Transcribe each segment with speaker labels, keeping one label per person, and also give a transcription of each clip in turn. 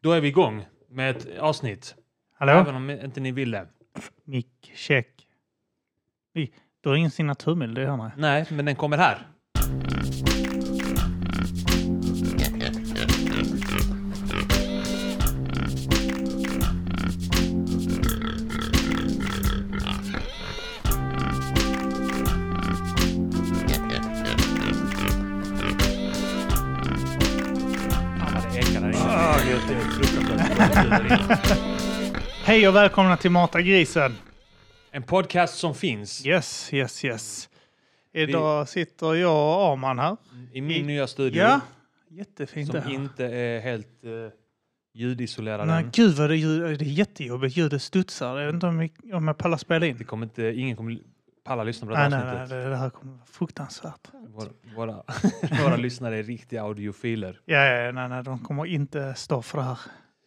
Speaker 1: Då är vi igång med ett avsnitt.
Speaker 2: Hallå?
Speaker 1: Även om inte ni ville.
Speaker 2: Mick, check. Mick, Du har ingen signaturmedel, det hör man.
Speaker 1: Nej, men den kommer här. Fan vad det ekar där inne. Det är fruktansvärt bra ljud där inne.
Speaker 2: Hej och välkomna till Mata grisen!
Speaker 1: En podcast som finns
Speaker 2: Yes, yes, yes. Idag sitter jag och Arman här.
Speaker 1: i min
Speaker 2: i-
Speaker 1: nya studio.
Speaker 2: Ja, jättefint det
Speaker 1: Som
Speaker 2: här.
Speaker 1: inte är helt eh, ljudisolerad
Speaker 2: Nej,
Speaker 1: än.
Speaker 2: gud vad det, ljud, det är jättejobbigt. Ljudet studsar. Jag vet inte om, vi, om jag pallar spela
Speaker 1: Det
Speaker 2: in.
Speaker 1: kommer inte, ingen kommer palla lyssna på det
Speaker 2: Nej,
Speaker 1: här
Speaker 2: nej,
Speaker 1: avsnittet.
Speaker 2: nej, det, det här kommer vara fruktansvärt.
Speaker 1: Våra, våra, våra lyssnare är riktiga audiofiler.
Speaker 2: Ja, ja, ja, nej, nej, de kommer inte stå för det här.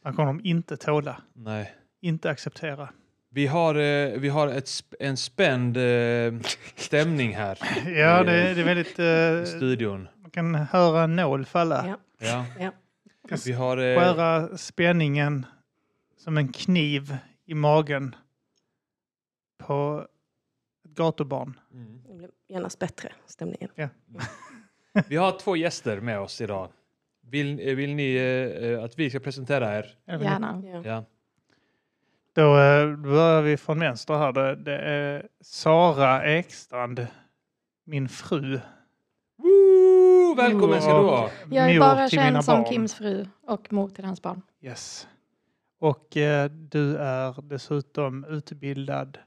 Speaker 2: Det kommer de inte tåla.
Speaker 1: Nej.
Speaker 2: Inte acceptera.
Speaker 1: Vi har, eh, vi har ett, sp- en spänd eh, stämning här
Speaker 2: Ja, det, det är väldigt...
Speaker 1: i
Speaker 2: Eh,
Speaker 1: studion.
Speaker 2: man kan höra en nål falla.
Speaker 3: Ja.
Speaker 1: Ja.
Speaker 3: Ja.
Speaker 1: Vi har, eh,
Speaker 2: skära spänningen som en kniv i magen på ett gatubarn.
Speaker 1: mm.
Speaker 3: Det blir genast bättre stämningen.
Speaker 1: vi har två gäster med oss idag. Vill, eh, vill ni eh, eh, att vi ska presentera er?
Speaker 2: Eller-
Speaker 4: Gärna.
Speaker 3: Ja.
Speaker 1: Ja.
Speaker 2: Då eh, börjar vi från vänster här. Det, det är Sara Ekstrand, min fru.
Speaker 1: Woo! Välkommen ska du vara!
Speaker 4: Jag är
Speaker 2: mor
Speaker 4: bara
Speaker 2: till mina
Speaker 4: känd som
Speaker 2: barn.
Speaker 4: Kims fru och mor till hans barn.
Speaker 2: Yes. Och eh, du är dessutom utbildad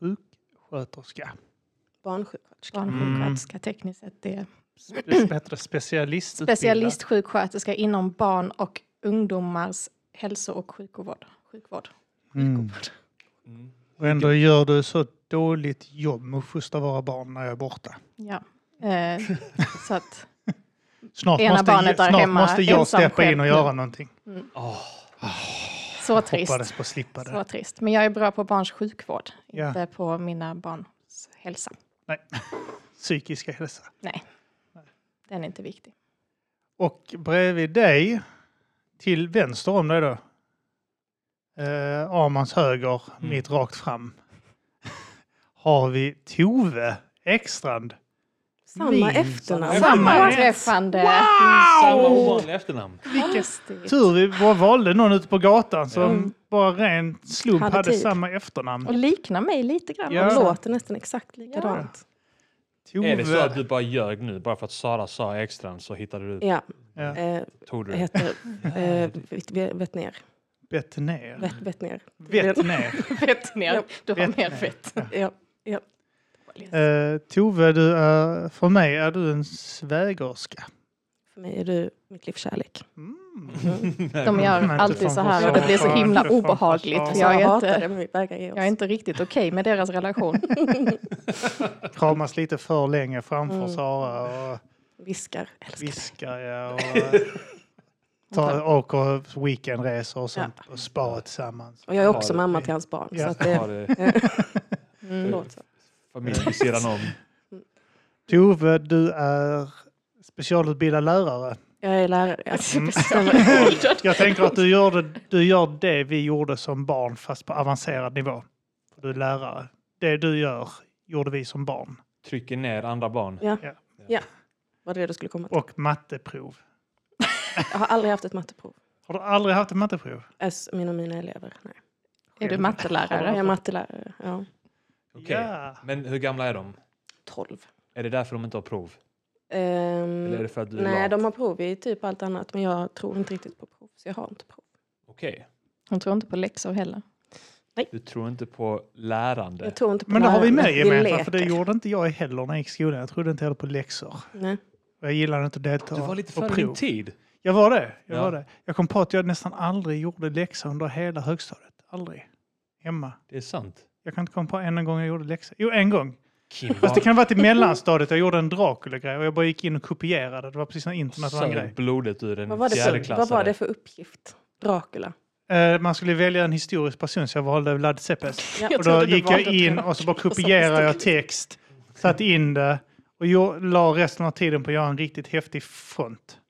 Speaker 2: sjuksköterska.
Speaker 3: Barnsjuksköterska.
Speaker 2: Mm.
Speaker 4: Barnsjuksköterska tekniskt sett. Det är
Speaker 2: Dess bättre specialistutbildad.
Speaker 4: specialistsjuksköterska inom barn och ungdomars hälso och sjukvård. sjukvård.
Speaker 2: Mm.
Speaker 1: Mm.
Speaker 2: Och ändå gör du så dåligt jobb med att fostra våra barn när jag är borta.
Speaker 4: Ja. Eh, så att,
Speaker 2: Snart
Speaker 4: Ena
Speaker 2: måste,
Speaker 4: barnet där
Speaker 2: snart
Speaker 4: hemma
Speaker 2: måste jag
Speaker 4: ensam
Speaker 2: steppa in
Speaker 4: själv
Speaker 2: och
Speaker 4: nu.
Speaker 2: göra någonting.
Speaker 1: Åh,
Speaker 4: så trist.
Speaker 2: Hoppades på att slippa det.
Speaker 4: Så trist. Men jag är bra på barns sjukvård,
Speaker 2: Ja.
Speaker 4: inte på mina barns hälsa.
Speaker 2: Psykiska hälsa.
Speaker 4: Den är inte viktig.
Speaker 2: Och bredvid dig, till vänster om dig då. Eh, Armans höger,
Speaker 1: Mm.
Speaker 2: mitt rakt fram. har vi Tove Ekstrand.
Speaker 3: Samma
Speaker 2: Min.
Speaker 3: efternamn.
Speaker 2: Samma
Speaker 4: Sammanträffande!
Speaker 1: Samma
Speaker 4: Mm,
Speaker 1: ovanliga efternamn.
Speaker 4: Konstigt.
Speaker 2: Tur vi bara valde någon ute på gatan som
Speaker 4: Mm.
Speaker 2: bara ren slump
Speaker 3: Hade
Speaker 2: hade,
Speaker 3: tid.
Speaker 2: samma efternamn.
Speaker 4: Och liknar mig lite grann
Speaker 2: Ja.
Speaker 3: Det
Speaker 4: också.
Speaker 3: låter nästan exakt likadant.
Speaker 2: Tove.
Speaker 1: Är det så att du bara ljög nu? Bara för att Sara sa extra så hittade du,
Speaker 3: Ja,
Speaker 2: ja.
Speaker 3: eh,
Speaker 1: tog du
Speaker 3: jag
Speaker 1: det?
Speaker 3: heter eh, vet- vet- Vetner.
Speaker 2: Betnér.
Speaker 3: Vet- Vetner.
Speaker 2: Betnér.
Speaker 4: Fett ner. Du har
Speaker 2: Fett
Speaker 4: mer
Speaker 2: ner.
Speaker 4: fett.
Speaker 3: Ja, ja.
Speaker 2: Eh, Tove, du är, för mig är du en svägerska.
Speaker 3: För mig är du mitt livs kärlek.
Speaker 1: Mm.
Speaker 4: De gör
Speaker 2: Men inte
Speaker 4: alltid
Speaker 2: från
Speaker 4: så här
Speaker 2: försvar,
Speaker 4: och det blir så
Speaker 2: inte
Speaker 4: himla
Speaker 2: från
Speaker 4: obehagligt.
Speaker 2: försvar.
Speaker 4: För jag,
Speaker 3: Jag
Speaker 4: är
Speaker 3: hatar det
Speaker 4: inte,
Speaker 3: men vi vägrar ge oss.
Speaker 4: jag är inte riktigt okej med deras relation.
Speaker 2: Kramas lite för länge framför
Speaker 3: Mm.
Speaker 2: Sara och
Speaker 3: Viskar. Älskar dig.
Speaker 2: viskar ja, och eh, tar, åker weekendresor och sånt och spa tillsammans.
Speaker 3: Och jag är också
Speaker 1: Ja, det-
Speaker 3: mamma till hans barn.
Speaker 2: Ja.
Speaker 3: Så att
Speaker 1: Har
Speaker 3: det
Speaker 1: det
Speaker 4: Mm.
Speaker 3: låter så.
Speaker 1: familj vid sidan om?
Speaker 2: Tove, du är specialutbildad lärare.
Speaker 3: Jag är lärare. Ja.
Speaker 2: Mm.
Speaker 3: Stämmer.
Speaker 2: Jag tänker att du gör, det, du gör det vi gjorde som barn fast på avancerad nivå. För Du är lärare. Det du gör gjorde vi som barn.
Speaker 1: Trycker ner andra barn.
Speaker 3: Ja.
Speaker 2: Ja.
Speaker 3: ja. Vad är det du skulle komma till?
Speaker 2: Och matteprov.
Speaker 3: Jag har aldrig haft ett matteprov.
Speaker 2: Har du aldrig haft ett matteprov?
Speaker 3: Alltså, mina och mina elever. Nej.
Speaker 4: Är du
Speaker 3: Jag är
Speaker 4: mattelärare?
Speaker 3: mattelärare. Ja.
Speaker 1: Okej.
Speaker 2: Ja.
Speaker 1: Men hur gamla är de?
Speaker 3: 12.
Speaker 1: Är det därför de inte har prov?
Speaker 3: Ehm,
Speaker 1: Eller är det för att du är
Speaker 3: nej,
Speaker 1: lat?
Speaker 3: de har prov i typ allt annat men jag tror inte riktigt på prov så jag har inte prov.
Speaker 1: Okej.
Speaker 4: Hon tror inte på läxor heller.
Speaker 1: Du tror inte på lärande?
Speaker 3: Jag tror inte på
Speaker 2: Men det har vi
Speaker 3: lärarna.
Speaker 2: med gemensamt,
Speaker 3: leker.
Speaker 2: för det gjorde inte jag heller när jag gick i skolan. Jag trodde inte heller på läxor.
Speaker 3: Nej.
Speaker 2: Och Jag gillade inte att delta
Speaker 1: Du var lite
Speaker 2: på
Speaker 1: före din tid.
Speaker 2: Jag var det. Jag,
Speaker 1: Ja.
Speaker 2: var det. jag kom på att jag nästan aldrig gjorde läxor under hela högstadiet. Aldrig. Hemma.
Speaker 1: Det är sant.
Speaker 2: Jag kan inte komma på en gång jag gjorde läxor. Jo, en gång.
Speaker 1: Kim
Speaker 2: Fast det
Speaker 1: var
Speaker 2: kan ha varit i mellanstadiet. Jag gjorde en Dracula-grej och jag bara gick in och kopierade. Det var precis när internet var en
Speaker 1: sög
Speaker 2: grej.
Speaker 1: blodet ur en
Speaker 3: Vad, var det för,
Speaker 1: fjärdeklassare.
Speaker 3: vad var det för uppgift? Dracula.
Speaker 2: Eh, Man skulle välja en historisk person, så jag valde Vlad Seppes.
Speaker 3: Ja.
Speaker 2: Och
Speaker 4: trodde
Speaker 2: då
Speaker 4: du
Speaker 2: gick jag
Speaker 4: valde
Speaker 2: in och så bara kopierade jag text, satte in det och jag la resten av tiden på att göra en riktigt häftig front.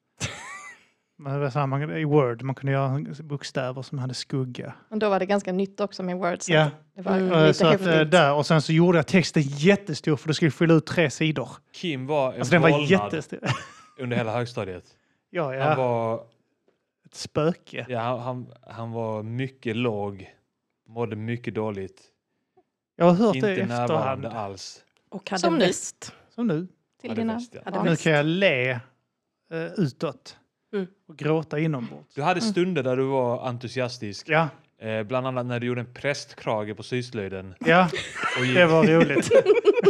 Speaker 2: Men det var så här, man, I Word man kunde göra bokstäver som hade skugga.
Speaker 4: Men då var det ganska nytt också med Word. så
Speaker 2: Ja,
Speaker 4: Det var
Speaker 3: Mm.
Speaker 2: eh,
Speaker 4: lite
Speaker 2: så att, eh,
Speaker 4: häftigt.
Speaker 2: där. Och sen så gjorde jag texten jättestor för du skulle fylla ut tre sidor.
Speaker 1: Kim var en
Speaker 2: Alltså den var
Speaker 1: vålnad
Speaker 2: jättestor.
Speaker 1: under hela högstadiet.
Speaker 2: ja,
Speaker 1: Han,
Speaker 2: ja.
Speaker 1: var,
Speaker 2: Ett spöke.
Speaker 1: ja, han- han, han var mycket låg, mådde mycket dåligt,
Speaker 2: Jag har hört
Speaker 1: inte
Speaker 2: det i
Speaker 1: närvarande
Speaker 2: efterhand.
Speaker 1: alls.
Speaker 3: Och hade
Speaker 4: Som nu.
Speaker 3: väst.
Speaker 2: Som nu.
Speaker 4: Till
Speaker 1: Hade
Speaker 4: dina
Speaker 1: fest, ja.
Speaker 4: barn.
Speaker 3: Hade
Speaker 2: Nu kan jag le eh, utåt.
Speaker 3: Mm.
Speaker 2: Och gråta inombords.
Speaker 1: Du hade stunder där du var entusiastisk,
Speaker 2: Ja,
Speaker 1: eh, bland annat när du gjorde en prästkrage på syslöjden
Speaker 2: ja,
Speaker 1: och
Speaker 2: det
Speaker 1: gick,
Speaker 2: var roligt.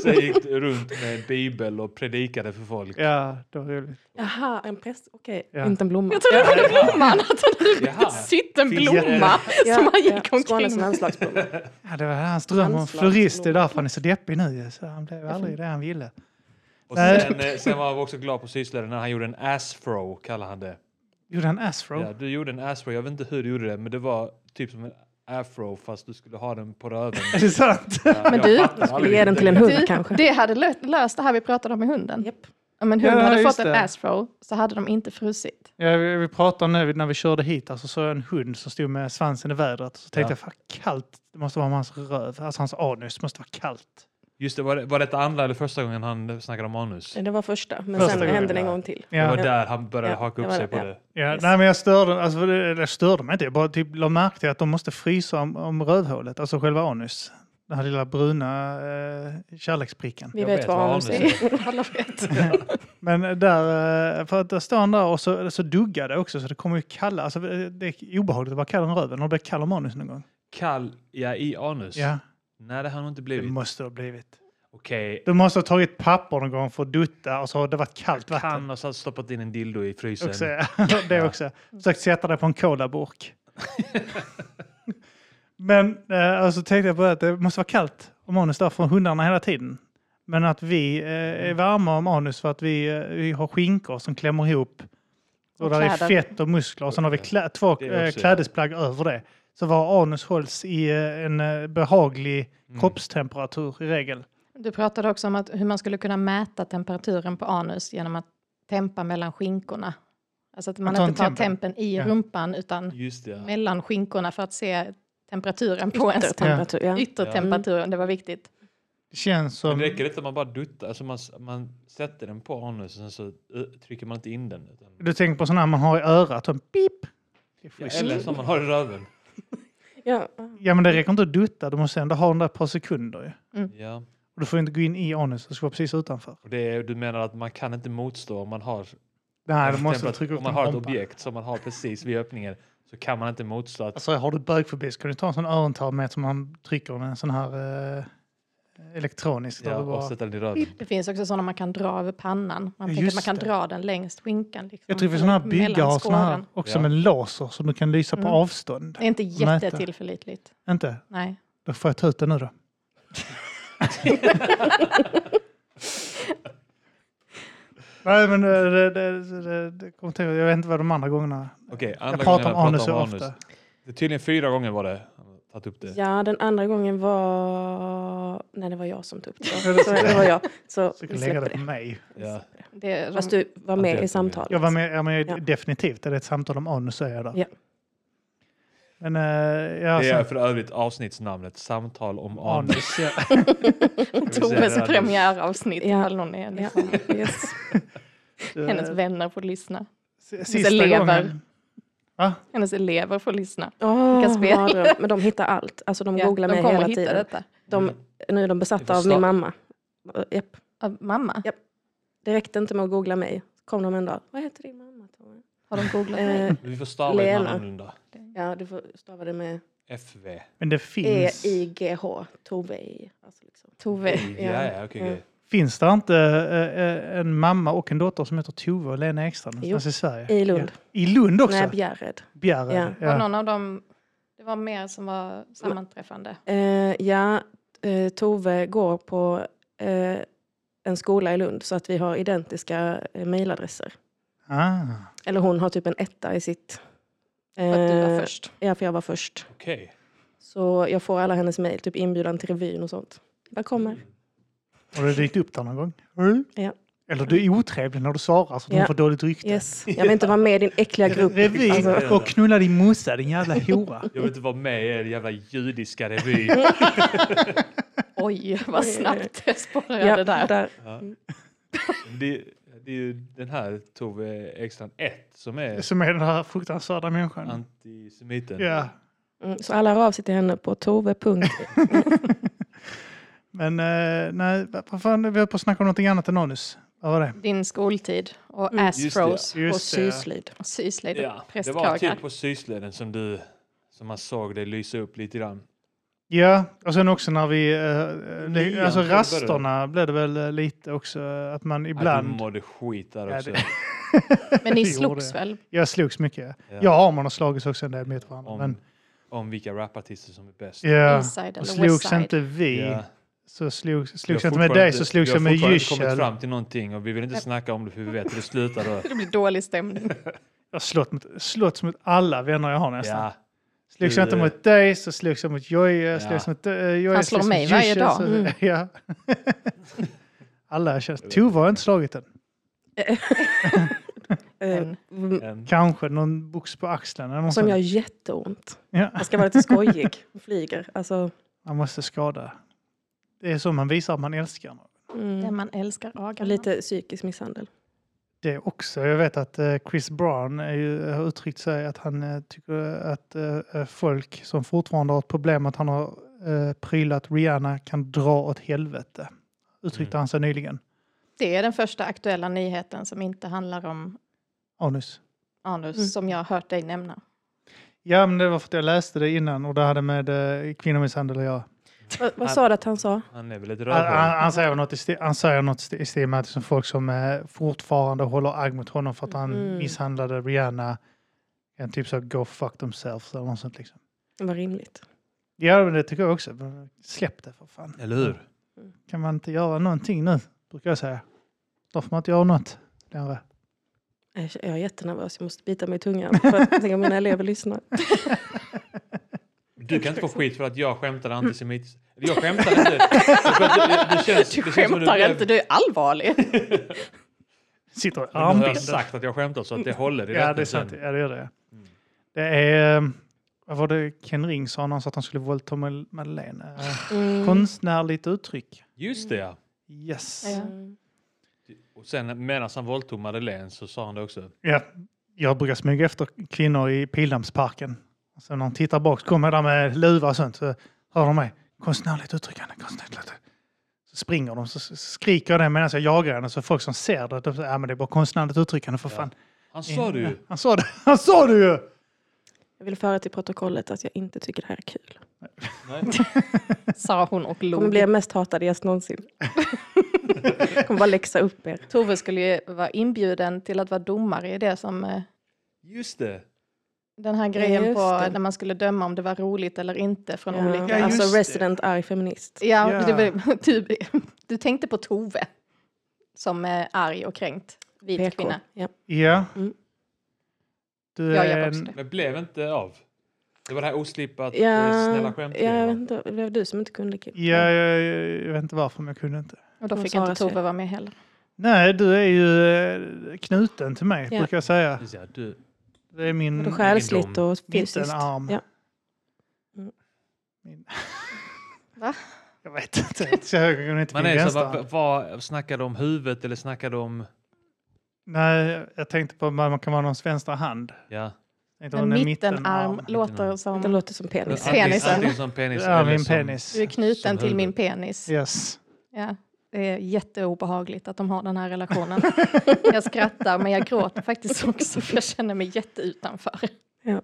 Speaker 1: så gick du runt med en bibel och predikade för folk.
Speaker 2: Ja, det var roligt.
Speaker 3: Jaha, en präst. Okej,
Speaker 2: Ja.
Speaker 3: inte en blomma.
Speaker 4: Jag trodde det var
Speaker 1: Jaha.
Speaker 4: blomman. Jag trodde det
Speaker 1: Jaha.
Speaker 4: var sytt en
Speaker 1: Finns-
Speaker 4: blomma
Speaker 3: Ja,
Speaker 4: som han
Speaker 3: ja,
Speaker 4: gick
Speaker 3: Skåne som
Speaker 4: omkring med.
Speaker 3: anslagsblomma.
Speaker 2: Ja, det var hans dröm om florist. Det är därför han är så deppig nu. ju, Så han blev aldrig det han ville.
Speaker 1: Och
Speaker 2: Nej.
Speaker 1: sen, eh, sen var jag också glad på syslöjden när han gjorde en assfro, kallar han det.
Speaker 2: Gjorde han afro?
Speaker 1: Ja, du gjorde en afro, jag vet inte hur du gjorde det, men det var typ som en afro fast du skulle ha den på röven.
Speaker 2: Är det sant?
Speaker 1: Ja, jag fattar
Speaker 4: du,
Speaker 3: Jag skulle
Speaker 1: aldrig
Speaker 3: ge den
Speaker 1: det.
Speaker 3: till en hund
Speaker 4: Du,
Speaker 3: kanske.
Speaker 4: det hade lö- löst det här vi pratade om med hunden.
Speaker 3: Japp.
Speaker 4: Om en hund
Speaker 2: Ja,
Speaker 4: hade
Speaker 2: just
Speaker 4: fått en
Speaker 2: det.
Speaker 4: assroll så hade de inte frusit.
Speaker 2: Ja, vi, vi pratade nu när vi körde hit, alltså så en hund som stod med svansen i vädret. Så tänkte
Speaker 1: Ja.
Speaker 2: jag, fan kallt, det måste vara om hans röv, alltså hans anus måste vara kallt.
Speaker 1: Just det, var, det, var detta andra eller första gången han snackade om anus?
Speaker 3: Det var första, men
Speaker 2: Första
Speaker 3: sen
Speaker 2: gången,
Speaker 3: hände det en
Speaker 1: ja.
Speaker 3: gång till.
Speaker 1: Det
Speaker 2: Ja,
Speaker 1: var där han började
Speaker 3: Ja,
Speaker 1: haka
Speaker 3: det
Speaker 1: upp
Speaker 3: var
Speaker 1: sig
Speaker 3: det,
Speaker 1: på
Speaker 3: ja.
Speaker 1: det.
Speaker 2: ja,
Speaker 3: yes.
Speaker 2: nej men jag störde, alltså, för det- eller jag störde mig inte, jag bara typ la märke till att de måste frysa om, om rövhålet, alltså själva anus. Den här lilla bruna eh, kärleksprickan.
Speaker 3: Vi
Speaker 1: Jag
Speaker 3: vet,
Speaker 1: vet
Speaker 3: vad
Speaker 1: vad
Speaker 3: anus
Speaker 1: anus
Speaker 3: är.
Speaker 4: Alla vet.
Speaker 2: Men där, eh, för att där står han där och så, så duggade det också så det kommer ju kalla, alltså det det är obehagligt att vara kall om röven. Har du blivit kall om anus någon gång?
Speaker 1: Kall, ja, i anus?
Speaker 2: Ja,
Speaker 1: Nej, det har han inte
Speaker 2: det
Speaker 1: blivit.
Speaker 2: måste det ha blivit.
Speaker 1: Okej,
Speaker 2: Du måste ha tagit papper någon gång för att dutta och så har det varit kallt vatten.
Speaker 1: kan ha satt- stoppat in en dildo i frysen.
Speaker 2: Också, ja. det
Speaker 1: Ja.
Speaker 2: också. Försökt sätta det på en colaburk. Men eh, alltså, tänkte jag på att det måste vara kallt om anus där för hundarna hela tiden. Men att vi eh, är varma om anus för att vi, eh, vi har skinkor som klämmer ihop. Och
Speaker 4: Och
Speaker 2: där är
Speaker 4: kläder.
Speaker 2: fett och muskler och sen har vi klä, två
Speaker 1: Det är
Speaker 2: eh,
Speaker 1: också-
Speaker 2: klädesplagg över det. Så var anus hålls i eh, en eh, behaglig
Speaker 1: Mm.
Speaker 2: kroppstemperatur i regel.
Speaker 4: Du pratade också om att hur man skulle kunna mäta temperaturen på anus genom att tempa mellan skinkorna. Alltså att man
Speaker 2: Att ta
Speaker 4: inte
Speaker 2: en
Speaker 4: tar
Speaker 2: tempen.
Speaker 4: tempen i
Speaker 2: Ja.
Speaker 4: rumpan utan
Speaker 1: Just det, ja.
Speaker 4: mellan skinkorna för att se temperaturen på ens
Speaker 3: Temperatur, ja.
Speaker 4: yttertemperaturen. Det var viktigt.
Speaker 2: Det känns
Speaker 1: Men
Speaker 2: som...
Speaker 1: det räcker inte att man bara duttar, alltså man, s- man sätter den på anus och sen så eh, trycker man inte in den. Utan,
Speaker 2: Du tänker på sådana här man har i örat, en pip. Det är
Speaker 1: ja,
Speaker 2: schysst.
Speaker 1: eller som man har i röven.
Speaker 3: Ja.
Speaker 2: Ja men det räcker inte att dutta, du måste ändå ha den där ett par sekunder ju.
Speaker 1: Ja.
Speaker 2: Och du får inte gå in i anus, du ska vara precis utanför.
Speaker 1: Och det är, du menar att man kan inte motstå om man har
Speaker 2: Nej,
Speaker 1: Om
Speaker 2: du måste
Speaker 1: temperat-
Speaker 2: trycka upp
Speaker 1: Om man
Speaker 2: din
Speaker 1: har ett
Speaker 2: rumpa.
Speaker 1: objekt som man har precis vid öppningen så kan man inte motstå att
Speaker 2: Alltså har du bögfobi så kan du ta en sån örontag med som man trycker med en sån här eh, elektronisk. där
Speaker 1: ja,
Speaker 2: du bara...
Speaker 1: och sätta den i röven.
Speaker 4: Det finns också sådana man kan dra över pannan. Man
Speaker 2: Ja,
Speaker 4: tänker att man
Speaker 2: just
Speaker 4: kan
Speaker 2: det.
Speaker 4: dra den längs skinkan. Liksom,
Speaker 2: Jag tror vi såna här
Speaker 4: mellan
Speaker 2: byggare har såna här
Speaker 4: skåren.
Speaker 2: också
Speaker 1: Ja.
Speaker 2: med laser som du kan lysa på
Speaker 4: Mm.
Speaker 2: avstånd.
Speaker 4: Det är inte
Speaker 2: Mäta.
Speaker 4: jättetillförlitligt.
Speaker 2: Inte?
Speaker 4: Nej.
Speaker 2: Då får jag ta ut den nu då. Nej men det, det, det, det, det kommer till, jag vet inte vad de andra gångerna...
Speaker 1: Okej,
Speaker 2: Jag
Speaker 1: andra
Speaker 2: pratar
Speaker 1: gången
Speaker 2: om anus
Speaker 1: pratar
Speaker 2: så
Speaker 1: om anus.
Speaker 2: ofta.
Speaker 1: Det är tydligen fyra gånger var det. Han har Tagit upp det.
Speaker 3: ja, den andra gången var... Nej, det var jag som tog upp
Speaker 2: Ja,
Speaker 3: det.
Speaker 2: det
Speaker 3: Så
Speaker 2: ska jag.
Speaker 3: det var jag. Så
Speaker 2: Så
Speaker 3: vi
Speaker 2: jag kan lägga
Speaker 3: släpper
Speaker 2: det på
Speaker 3: det.
Speaker 2: mig.
Speaker 1: Ja.
Speaker 4: Det,
Speaker 3: Fast du var
Speaker 1: Ja, det
Speaker 3: med
Speaker 1: är
Speaker 3: i
Speaker 2: Jag
Speaker 3: samtalet.
Speaker 2: var med, jag med
Speaker 3: Ja.
Speaker 2: definitivt. Är det ett samtal om anus så är jag där.
Speaker 3: Ja.
Speaker 2: Men eh, ja,
Speaker 1: Det är
Speaker 2: sen,
Speaker 1: för övrigt avsnittsnamnet Samtal om anus.
Speaker 2: anus. Ja.
Speaker 1: vi säga det
Speaker 4: Toves
Speaker 1: här nu?
Speaker 4: premiäravsnitt
Speaker 3: Ja.
Speaker 4: ifall någon är
Speaker 3: Ja,
Speaker 4: liksom,
Speaker 3: yes.
Speaker 2: Eh,
Speaker 4: hennes vänner får lyssna.
Speaker 2: S-
Speaker 4: elever.
Speaker 2: Va?
Speaker 4: Hennes elever får lyssna.
Speaker 3: Åh,
Speaker 4: spela.
Speaker 3: mardröm. Men de hittar allt. Alltså de
Speaker 4: Ja,
Speaker 3: googlar
Speaker 4: de
Speaker 3: mig
Speaker 4: kommer
Speaker 3: hela
Speaker 4: hitta
Speaker 3: tiden.
Speaker 4: detta.
Speaker 3: De,
Speaker 1: Mm.
Speaker 3: nu är de
Speaker 1: Vi får
Speaker 3: besatta av
Speaker 1: sta-
Speaker 3: min mamma. Eh, Japp.
Speaker 4: Av mamma?
Speaker 3: Ja. Det räckte inte med att googla mig. Kom de en dag. Vad heter din mamma? Tove?"
Speaker 4: Har de googlat mig?
Speaker 3: Eh,
Speaker 1: Vi får stava det
Speaker 3: Lena.
Speaker 1: annorlunda.
Speaker 3: ja, du får stava det med E
Speaker 1: FV.
Speaker 2: Men det finns,
Speaker 3: E-I-G-H. Tove. i- Alltså liksom.
Speaker 4: Tove.
Speaker 1: Ja, ja, okej. okej.
Speaker 2: finns det inte eh, eh, en mamma och en dotter som heter Tove och Lena Ekstrand någonstans i Sverige?
Speaker 3: I Lund.
Speaker 2: Ja. I Lund också?
Speaker 3: Nej, Bjärred.
Speaker 2: Bjärred.
Speaker 3: Ja.
Speaker 4: Var någon av dem... Det var mer som var sammanträffande.
Speaker 3: Eh, ja, eh, Tove går på eh, en skola i Lund så att vi har identiska eh, mejladresser.
Speaker 2: Ah.
Speaker 3: Eller hon har typ en etta i sitt.
Speaker 4: För att du
Speaker 3: Eh,
Speaker 4: var först.
Speaker 3: Ja, för jag var först.
Speaker 1: Okej.
Speaker 3: Så jag får alla hennes mejl, typ inbjudan till revyn och sånt. Jag bara kommer.
Speaker 2: Har du dykt upp där någon gång? Mm.
Speaker 3: Ja.
Speaker 2: Eller du är otrevlig när du svarar så att hon
Speaker 3: Ja.
Speaker 2: får dåligt rykte.
Speaker 3: Yes. Jag vill inte vara med i din äckliga grupp.
Speaker 2: Revy
Speaker 3: Alltså,
Speaker 2: och knulla din morsa, din jävla hora.
Speaker 1: Jag vill inte vara med i er jävla judiska revy.
Speaker 4: Oj, vad snabbt det spårade
Speaker 3: eh, ja,
Speaker 4: där.
Speaker 3: där.
Speaker 1: Ja. Det, det är ju den här Tove Ekstrand 1 som är
Speaker 2: Som är den här fruktansvärda människan.
Speaker 1: antisemiten.
Speaker 2: Ja.
Speaker 3: Mm, Så alla hör av sig till henne på Tove. punkt.
Speaker 2: Men eh, nej, vad vad fan, vi höll på att snacka om någonting annat än anus. Vad var det?
Speaker 4: Din skoltid och
Speaker 3: Mm.
Speaker 4: ass
Speaker 1: Just det.
Speaker 4: froze
Speaker 3: Och
Speaker 2: Just det.
Speaker 3: syslid.
Speaker 4: och syslöjd och
Speaker 1: Ja, det var
Speaker 4: prästkragar.
Speaker 1: typ på sysleden som du som man såg det lysa upp lite grann.
Speaker 2: Ja, och sen också när vi... eh, det,
Speaker 1: Nian
Speaker 2: alltså
Speaker 1: tror jag det
Speaker 2: rasterna blev det väl eh, lite också eh, att man
Speaker 1: Att du
Speaker 2: ibland...
Speaker 1: mådde skit där
Speaker 2: Ja,
Speaker 1: också.
Speaker 2: det-
Speaker 4: Men ni
Speaker 2: Jo,
Speaker 4: slogs
Speaker 2: det.
Speaker 4: väl?
Speaker 2: Jag slogs mycket.
Speaker 1: Ja.
Speaker 2: Jag och Arman har slagits också en del mot varandra.
Speaker 1: om,
Speaker 2: Men,
Speaker 1: om vilka rapartister som är bäst.
Speaker 2: ja.
Speaker 4: Inside
Speaker 2: Och
Speaker 4: eller west
Speaker 2: slogs
Speaker 4: side?
Speaker 2: inte vi
Speaker 1: Ja.
Speaker 2: så slogs,
Speaker 1: Vi har
Speaker 2: slogs jag inte med dig så
Speaker 1: fortfarande-
Speaker 2: slogs jag med
Speaker 1: Vi har fortfarande
Speaker 2: Yücel.
Speaker 1: kommit fram till någonting och vi vill inte snacka om det för vi vet hur det slutar då.
Speaker 4: Det blir dålig stämning.
Speaker 3: Mm.
Speaker 2: Jag har slått mot, slått mot alla vänner jag har nästan.
Speaker 1: Ja,
Speaker 2: Slogs jag
Speaker 1: du-
Speaker 2: inte mot dig så slogs jag mot Jojje.
Speaker 1: Eh. Ja.
Speaker 2: Slogs mot eh, Jojje.
Speaker 4: Han slår
Speaker 2: slogs mot
Speaker 4: mig varje
Speaker 2: Yücel,
Speaker 4: dag.
Speaker 2: så-
Speaker 3: Mm.
Speaker 2: ja. alla känns... Tove har jag inte slagit än.
Speaker 3: Eh,
Speaker 4: Men
Speaker 3: mm,
Speaker 1: en,
Speaker 2: Kanske någon box på axeln eller något
Speaker 3: Som
Speaker 2: sånt.
Speaker 3: gör jätteont.
Speaker 2: ja,
Speaker 3: Jag ska vara lite skojig. Flyger. Alltså,
Speaker 2: Man måste skada. Det är så man visar att man älskar någon.
Speaker 4: Den
Speaker 3: mm.
Speaker 4: man älskar agar
Speaker 3: Och
Speaker 4: lite.
Speaker 3: Lite psykisk misshandel.
Speaker 2: Det också. Jag vet att eh, Chris Brown är ju, har uttryckt sig att han eh, tycker att eh, folk som fortfarande har ett problem att han har eh, prylat Rihanna kan dra åt helvete. Uttryckte
Speaker 1: Mm.
Speaker 2: han sig nyligen.
Speaker 4: Det är den första aktuella nyheten som inte handlar om
Speaker 2: Anus.
Speaker 4: anus
Speaker 3: Mm.
Speaker 4: som jag har hört dig nämna.
Speaker 2: Ja, men det var för att jag läste det innan och det hade med eh, kvinnomisshandel att göra.
Speaker 3: Vad, vad sa du att han sa?
Speaker 1: han är väl ett
Speaker 2: Han,
Speaker 1: rövhål.
Speaker 2: han, han säger något i stil, han säger något i sti- i stil med att det är som folk som eh, fortfarande håller agg mot honom för att han
Speaker 3: Mm.
Speaker 2: misshandlade Rihanna. En typ så go fuck themselves eller något sånt liksom.
Speaker 3: Det var rimligt.
Speaker 2: Ja, men det tycker jag också. Släpp det för fan.
Speaker 1: Eller hur?
Speaker 2: Kan man inte göra någonting nu, brukar jag säga. Då får man inte göra något längre.
Speaker 3: Nej, Jag är jättenervös. Jag måste bita mig i tungan. För att tänka om mina elever lyssnar.
Speaker 1: Du kan inte få skit för att jag skämtar antisemitiskt. Eller Jag skämtar inte. För att Det, det, det känns, det
Speaker 4: Du
Speaker 1: känns som
Speaker 4: skämtar
Speaker 1: blev-
Speaker 4: inte, du är allvarlig.
Speaker 2: Sitter och
Speaker 1: Men nu har
Speaker 2: armbinder.
Speaker 1: jag sagt att jag skämtar så att det Mm. håller i
Speaker 2: Ja, det är
Speaker 1: rättelsen.
Speaker 2: sant. Ja, det gör det. Det är... eh, Vad var det Ken Ring sa när han sa att han skulle våldta Mal- Madeleine? Eh,
Speaker 3: Mm.
Speaker 2: Konstnärligt uttryck.
Speaker 1: Just det ja.
Speaker 2: Yes.
Speaker 4: Ja.
Speaker 3: Mm.
Speaker 1: Och sen medan han våldtog Madeleine så sa han det också.
Speaker 2: Ja, jag brukar smyga efter kvinnor i Pildammsparken. Sen när de tittar bak så kommer jag där med luva och sånt. Så hör de mig. Konstnärligt uttryckande, konstnärligt uttryck." Så springer de så så skriker jag det medan jag jagar henne. Så folk som ser det, de säger ja men det är bara konstnärligt uttryckande för
Speaker 1: Ja.
Speaker 2: fan.
Speaker 1: Han sa
Speaker 2: Mm.
Speaker 1: det ju.
Speaker 2: Han sa det, han sa det ju!
Speaker 3: Jag vill föra till protokollet att jag inte tycker det här är kul.
Speaker 1: Nej.
Speaker 4: Sa hon och
Speaker 3: Jag kommer bli
Speaker 4: log.
Speaker 3: er mest hatade gäst någonsin. Jag kommer bara läxa upp er.
Speaker 4: Tove skulle ju vara inbjuden till att vara domare i det som eh,
Speaker 1: Just det.
Speaker 4: den här grejen
Speaker 3: just
Speaker 4: på
Speaker 3: det.
Speaker 4: när man skulle döma om det var roligt eller inte från olika...
Speaker 2: Ja,
Speaker 3: Ja,
Speaker 2: just
Speaker 3: alltså
Speaker 2: det.
Speaker 3: resident arg feminist.
Speaker 4: Ja,
Speaker 2: Ja.
Speaker 4: Det var, du, du tänkte på Tove som är arg och kränkt. Vit
Speaker 3: PK.
Speaker 4: kvinna.
Speaker 3: Ja.
Speaker 2: Ja.
Speaker 3: Mm.
Speaker 2: Du
Speaker 4: Jag
Speaker 2: är
Speaker 4: gör också
Speaker 2: en-
Speaker 4: det.
Speaker 1: Men blev inte av. Det var det här oslipat
Speaker 3: Ja,
Speaker 1: eh, snälla skämt.
Speaker 3: ja, jag vet inte, det blev du som inte kunde Kim.
Speaker 2: Ja, jag, jag, jag vet inte varför men jag kunde inte.
Speaker 4: Och då
Speaker 3: Hon
Speaker 4: fick
Speaker 3: sa
Speaker 4: inte
Speaker 3: att jag-
Speaker 4: Tove vara med heller.
Speaker 2: Nej, du är ju eh, knuten till mig
Speaker 3: Ja.
Speaker 2: brukar jag säga.
Speaker 1: Precis, ja, du,
Speaker 2: Det är min...
Speaker 3: Både själsligt
Speaker 1: egendom.
Speaker 3: och
Speaker 2: mm. Inte
Speaker 3: fysiskt.
Speaker 2: en arm.
Speaker 3: Ja. Mm.
Speaker 2: Min...
Speaker 4: Va?
Speaker 2: Jag vet inte. Så jag kunde inte
Speaker 1: Man
Speaker 2: min
Speaker 1: är så,
Speaker 2: vänstra.
Speaker 1: här, vad, vad, snackar du om huvudet eller snackar du om...
Speaker 2: Nej, jag tänkte på att man kan vara någons vänstra hand.
Speaker 1: Ja.
Speaker 2: Jag tänkte
Speaker 4: En
Speaker 2: om det är
Speaker 4: mittenarm
Speaker 2: mittenarm.
Speaker 4: låter
Speaker 3: Det
Speaker 4: som...
Speaker 3: låter som penis.
Speaker 4: Ja. Penisen.
Speaker 1: Antingen som penis
Speaker 2: Ja,
Speaker 1: eller
Speaker 2: min
Speaker 1: som,
Speaker 2: penis.
Speaker 4: Du är
Speaker 1: Som
Speaker 4: knuten till min
Speaker 1: huvud.
Speaker 4: penis.
Speaker 2: Yes.
Speaker 4: Ja, det är jätteobehagligt att de har den här relationen. jag skrattar men jag gråter faktiskt också för jag känner mig jätteutanför.
Speaker 3: Ja.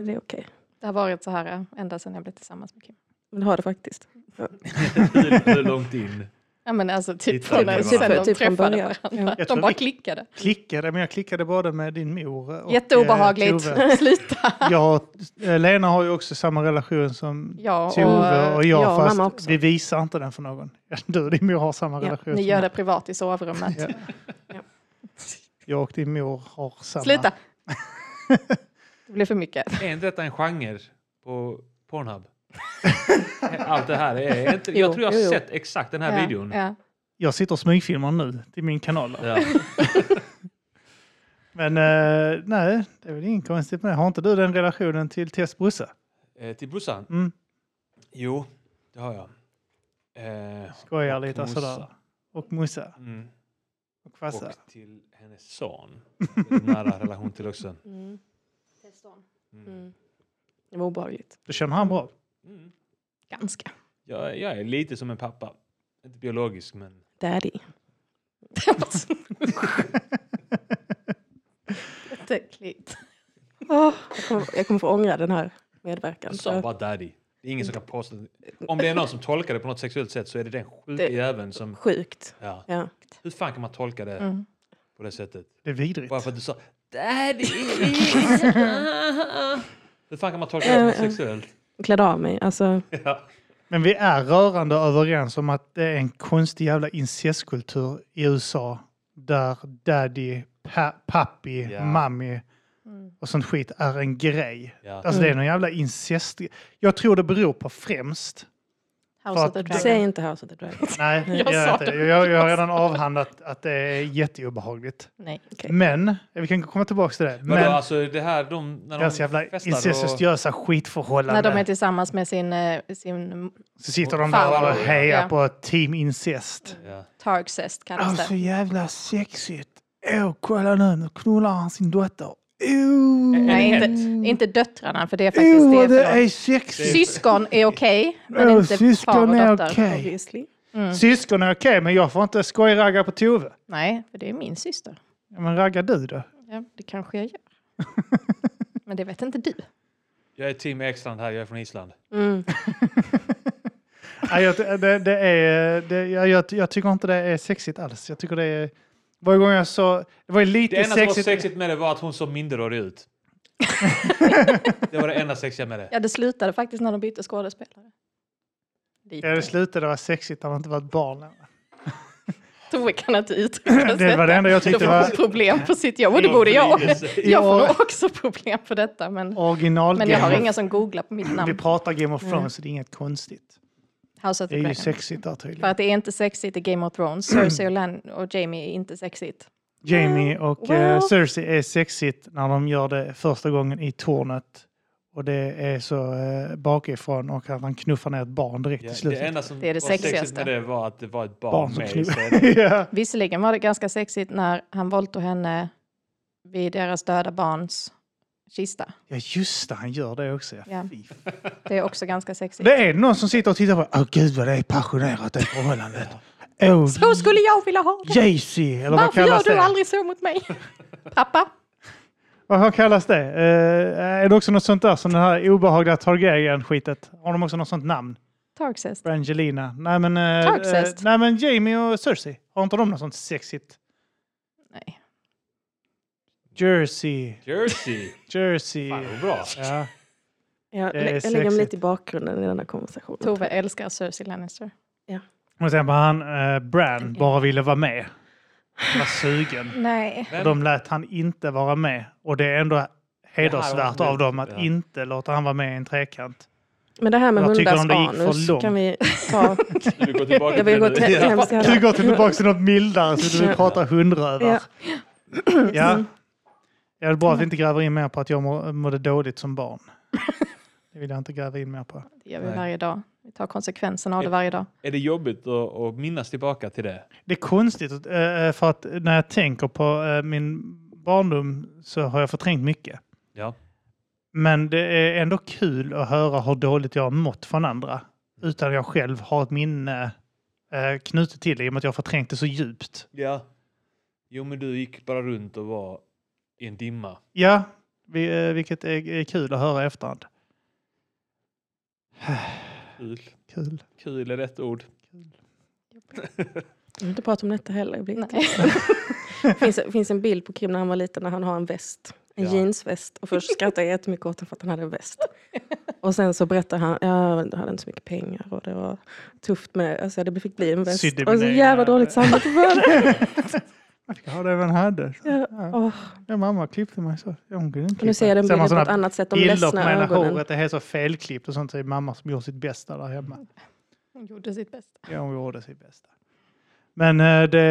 Speaker 3: Det är okej.
Speaker 4: Det har varit så här eh, ända sedan jag blev tillsammans med Kim.
Speaker 3: Men det har det faktiskt.
Speaker 1: hur, hur långt in?
Speaker 4: Ja men alltså typ
Speaker 1: Lite
Speaker 4: från,
Speaker 1: annorlunda.
Speaker 4: sen de
Speaker 3: Typ från
Speaker 4: träffade
Speaker 3: början.
Speaker 4: varandra.
Speaker 2: Jag tror
Speaker 4: De bara
Speaker 2: vi-
Speaker 4: typ, klickade.
Speaker 2: Klickade, men jag klickade både med din mor och
Speaker 4: Jätteobehagligt.
Speaker 2: eh, Tove.
Speaker 4: Sluta.
Speaker 2: Jag, eh, Lena har ju också samma relation som
Speaker 4: Ja,
Speaker 2: Tove
Speaker 4: och eh,
Speaker 2: och jag,
Speaker 3: jag och
Speaker 2: fast
Speaker 3: mamma också.
Speaker 2: vi visar inte den för någon. Du och din mor har samma
Speaker 3: Ja,
Speaker 2: relation.
Speaker 4: ni
Speaker 2: som
Speaker 4: gör
Speaker 2: jag.
Speaker 4: det privat i sovrummet.
Speaker 2: Ja. Jag och din mor har samma.
Speaker 4: Sluta. Det blev för mycket.
Speaker 1: Är inte detta en genre på Pornhub? Allt det här är inte...
Speaker 3: Jo,
Speaker 1: Jag tror jag
Speaker 3: jo,
Speaker 1: har
Speaker 3: jo.
Speaker 1: sett exakt den här
Speaker 4: ja,
Speaker 1: videon.
Speaker 4: Ja.
Speaker 2: Jag sitter och smygfilmar nu till min kanal.
Speaker 1: Ja.
Speaker 2: Men eh, nej, det är väl inget konstigt med det. Har inte du den relationen till Tess brorsa?
Speaker 1: Eh, till brorsan?
Speaker 2: Mm.
Speaker 1: Jo, det har jag. Eh,
Speaker 2: Skojar
Speaker 1: och
Speaker 2: lite
Speaker 1: morsa.
Speaker 2: sådär. Och morsa.
Speaker 1: Mm.
Speaker 2: Och farsa.
Speaker 1: Och till hennes son. Det är en Nära relation till också.
Speaker 3: Mm.
Speaker 1: Mm.
Speaker 3: Mm. Det var obehagligt.
Speaker 2: Då känner han bra.
Speaker 1: Mm.
Speaker 4: Ganska.
Speaker 1: Jag, jag är lite som en pappa. Inte biologisk, men...
Speaker 3: Daddy.
Speaker 4: Jätteäckligt.
Speaker 3: Oh, jag, kommer, jag kommer få ångra den här medverkan.
Speaker 1: Jag sa bara daddy. Det är ingen som kan påstå... Om det är någon som tolkar det på något sexuellt sätt så är det den sjuka
Speaker 3: Mm. Det- Mm.
Speaker 1: jäveln som...
Speaker 3: Sjukt.
Speaker 1: Ja.
Speaker 3: Ja.
Speaker 1: Hur fan kan man tolka det
Speaker 4: Mm.
Speaker 1: på det sättet?
Speaker 2: Det är vidrigt.
Speaker 1: Bara för att du sa daddy! Hur fan kan man tolka det som sexuellt?
Speaker 3: Klädde av mig. Alltså,
Speaker 1: Ja.
Speaker 2: Men vi är rörande överens om att det är en konstig jävla incestkultur i USA. Där daddy, pa pappi,
Speaker 1: Ja.
Speaker 2: mammi
Speaker 4: Mm.
Speaker 2: och sånt skit är en grej.
Speaker 1: Ja.
Speaker 2: Alltså det är någon jävla incest... Jag tror det beror på främst...
Speaker 4: House of the
Speaker 2: Fuck.
Speaker 4: Dragon.
Speaker 3: säg inte House of the Dragon.
Speaker 2: Nej,
Speaker 4: Jag
Speaker 2: jag,
Speaker 4: sa
Speaker 2: jag,
Speaker 4: det.
Speaker 2: jag, jag har redan avhandlat att det är jätteobehagligt.
Speaker 4: Nej.
Speaker 3: Okej.
Speaker 2: Men, vi kan komma tillbaka till det.
Speaker 1: Men,
Speaker 2: Men
Speaker 1: alltså det här de... När de
Speaker 2: deras jävla
Speaker 1: festar och...
Speaker 2: incestuösa skitförhållanden.
Speaker 4: När de är tillsammans med sin, eh, sin
Speaker 2: Så sitter de där
Speaker 4: Fan.
Speaker 2: och hejar
Speaker 4: Ja.
Speaker 2: på Team Incest.
Speaker 1: Ja.
Speaker 4: Targsest kallas det.
Speaker 2: jävla sexigt. Åh, kolla nu, nu knullar han sin dotter. Oh.
Speaker 4: Nej, inte, inte döttrarna, för det är faktiskt det. förlåt.
Speaker 2: sexigt.
Speaker 4: Syskon är okej, men
Speaker 2: Åh,
Speaker 4: inte far och dotter.
Speaker 3: Obviously.
Speaker 4: Mm.
Speaker 2: Syskon är okej, men jag får inte skojragga på Tove.
Speaker 4: Nej, för det är min syster.
Speaker 2: Ja, Men ragga du då?
Speaker 4: Ja, det kanske jag gör. men det vet inte du.
Speaker 1: Jag är team Ekstrand här, jag är från Island.
Speaker 3: Mm.
Speaker 2: Nej, jag, det, det är, det, jag, jag, jag tycker inte det är sexigt alls. Jag tycker det är... Varje gång jag sa... Det var ju lite
Speaker 1: Det enda som var
Speaker 2: sexigt.
Speaker 1: sexigt med det var att hon såg minderårig ut. det var det enda sexiga med det.
Speaker 4: Ja, det slutade faktiskt när de bytte skådespelare. Lite.
Speaker 2: Ja, det slutade vara sexigt när man inte var ett barn.
Speaker 4: Tove kan inte uttrycka
Speaker 2: Det var det enda jag
Speaker 4: Då
Speaker 2: tyckte
Speaker 4: får hon
Speaker 2: var
Speaker 4: problem på sitt jobb och det borde jag. Jag får nog också problem på detta, men,
Speaker 2: original
Speaker 4: men jag har
Speaker 2: Game of-
Speaker 4: inga som googlar på mitt
Speaker 2: Vi
Speaker 4: namn. Mm. Alltså,
Speaker 2: pratar Game of Thrones, så det är inget konstigt.
Speaker 4: House of
Speaker 2: Det
Speaker 4: the
Speaker 2: är ju
Speaker 4: Dragon.
Speaker 2: sexigt där
Speaker 4: För
Speaker 2: tydligen.
Speaker 4: att det är inte sexigt i Game of Thrones. Cersei och, Lan och Jamie är inte sexigt. Mm.
Speaker 2: Jamie och eh,
Speaker 3: Well.
Speaker 2: Cersei är sexigt när de gör det första gången i tornet. Och det är så eh, bakifrån och att han knuffar ner ett barn direkt
Speaker 1: Ja,
Speaker 2: i
Speaker 1: det
Speaker 2: slutet.
Speaker 1: enda som
Speaker 4: Det är det
Speaker 1: var sexigt
Speaker 4: sexigaste.
Speaker 1: med det var att det var ett barn,
Speaker 2: Barn som
Speaker 1: med.
Speaker 2: knuff-
Speaker 1: så är det-
Speaker 2: ja.
Speaker 4: Visserligen var det ganska sexigt när han våldtog henne vid deras döda barns kista.
Speaker 2: ja, just det, han gör det också. Ja.
Speaker 4: Ja.
Speaker 2: Fy fan.
Speaker 4: Det är också ganska sexigt.
Speaker 2: Det är någon som sitter och tittar på Åh gud vad det är passionerat det förhållandet. Åh,
Speaker 4: Så skulle jag vilja ha det!
Speaker 2: Jay-Z, eller vad
Speaker 4: Varför gör
Speaker 2: kallas
Speaker 4: du
Speaker 2: det?
Speaker 4: aldrig så mot mig? Pappa?
Speaker 2: Vad vad kallas det? Eh, är det också något sånt där som den här obehagliga Targaryen-skitet? Har de också något sånt namn?
Speaker 4: Targsest.
Speaker 2: Brangelina? Nej men, eh,
Speaker 4: Tarxest.
Speaker 2: eh, nej men Jamie och Cersei, har inte de något sånt sexigt?
Speaker 4: Nej.
Speaker 2: Jersey,
Speaker 1: Jersey!
Speaker 2: Jersey.
Speaker 1: Fan vad bra.
Speaker 2: Ja.
Speaker 3: Jag,
Speaker 2: Det är
Speaker 3: lä- jag lägger mig
Speaker 2: sexigt.
Speaker 3: lite i bakgrunden i den här konversationen.
Speaker 4: Tove älskar Cersei Lannister.
Speaker 2: Och sen var han eh, Bran bara ville vara med. Han var sugen.
Speaker 4: Nej.
Speaker 1: Vem?
Speaker 2: De lät han inte vara med. Och det är ändå hedersvärt
Speaker 1: Det här var
Speaker 2: av dem att
Speaker 1: ja.
Speaker 2: inte låta han vara med i en trekant.
Speaker 3: Men det här med
Speaker 2: Jag tycker
Speaker 3: hundars
Speaker 2: om det gick för
Speaker 3: anus
Speaker 2: långt.
Speaker 3: kan vi ta.
Speaker 1: Vi går tillbaka
Speaker 3: Jag vill gå
Speaker 1: till det
Speaker 3: till
Speaker 1: nu.
Speaker 3: hemska
Speaker 2: Du går tillbaka till något mildare så du vill prata hundrövar.
Speaker 3: Ja.
Speaker 2: Ja. ja, det är bra att vi inte gräver in mer på att jag må- mådde dåligt som barn. Det vill jag inte gräva in mer på.
Speaker 4: Det gör vi
Speaker 1: Nej.
Speaker 4: varje dag. Vi tar konsekvenserna av det varje dag.
Speaker 1: Är det jobbigt att, att minnas tillbaka till det?
Speaker 2: Det är konstigt att, eh, för att när jag tänker på eh, min barndom så har jag förträngt mycket.
Speaker 1: Ja.
Speaker 2: Men det är ändå kul att höra hur dåligt jag har mått från andra. Utan jag själv har ett minne eh, knutet till det i och med att jag har förträngt det så djupt.
Speaker 1: ja. Jo, men du gick bara runt och var i en dimma.
Speaker 2: Ja, vi, eh, vilket är, är kul att höra i efterhand.
Speaker 1: Kul.
Speaker 2: Kul.
Speaker 1: Kul är rätt ord.
Speaker 3: Jag vill inte prata om detta heller. Det blir inte.
Speaker 4: Nej.
Speaker 3: Det finns, finns en bild på Kim när han var liten när han har en väst. En
Speaker 1: Ja.
Speaker 3: jeansväst. Och först skrattade jag jättemycket åt honom för att han hade en väst. Och sen så berättar han, ja, jag hade inte så mycket pengar och det var tufft med, alltså det fick bli en väst.
Speaker 2: Sydde
Speaker 3: Och så
Speaker 2: mina
Speaker 3: jävla
Speaker 2: egna-
Speaker 3: dåligt samvete för det.
Speaker 2: Jag fick ha det man hade.
Speaker 3: Ja, åh.
Speaker 2: Ja, mamma klippte mig så. Ja, Hon kunde inte
Speaker 3: Och nu ser jag den
Speaker 2: Ser man
Speaker 3: bilden på
Speaker 2: såna
Speaker 3: ett annat sätt. De
Speaker 2: bilder på
Speaker 3: ledsna
Speaker 2: mig när
Speaker 3: ögonen.
Speaker 2: håret är helt så felklippt och sånt. Så är det mamma som gör sitt bästa där hemma.
Speaker 4: Hon gjorde sitt bästa.
Speaker 2: Ja, hon gjorde sitt bästa. Men eh, det,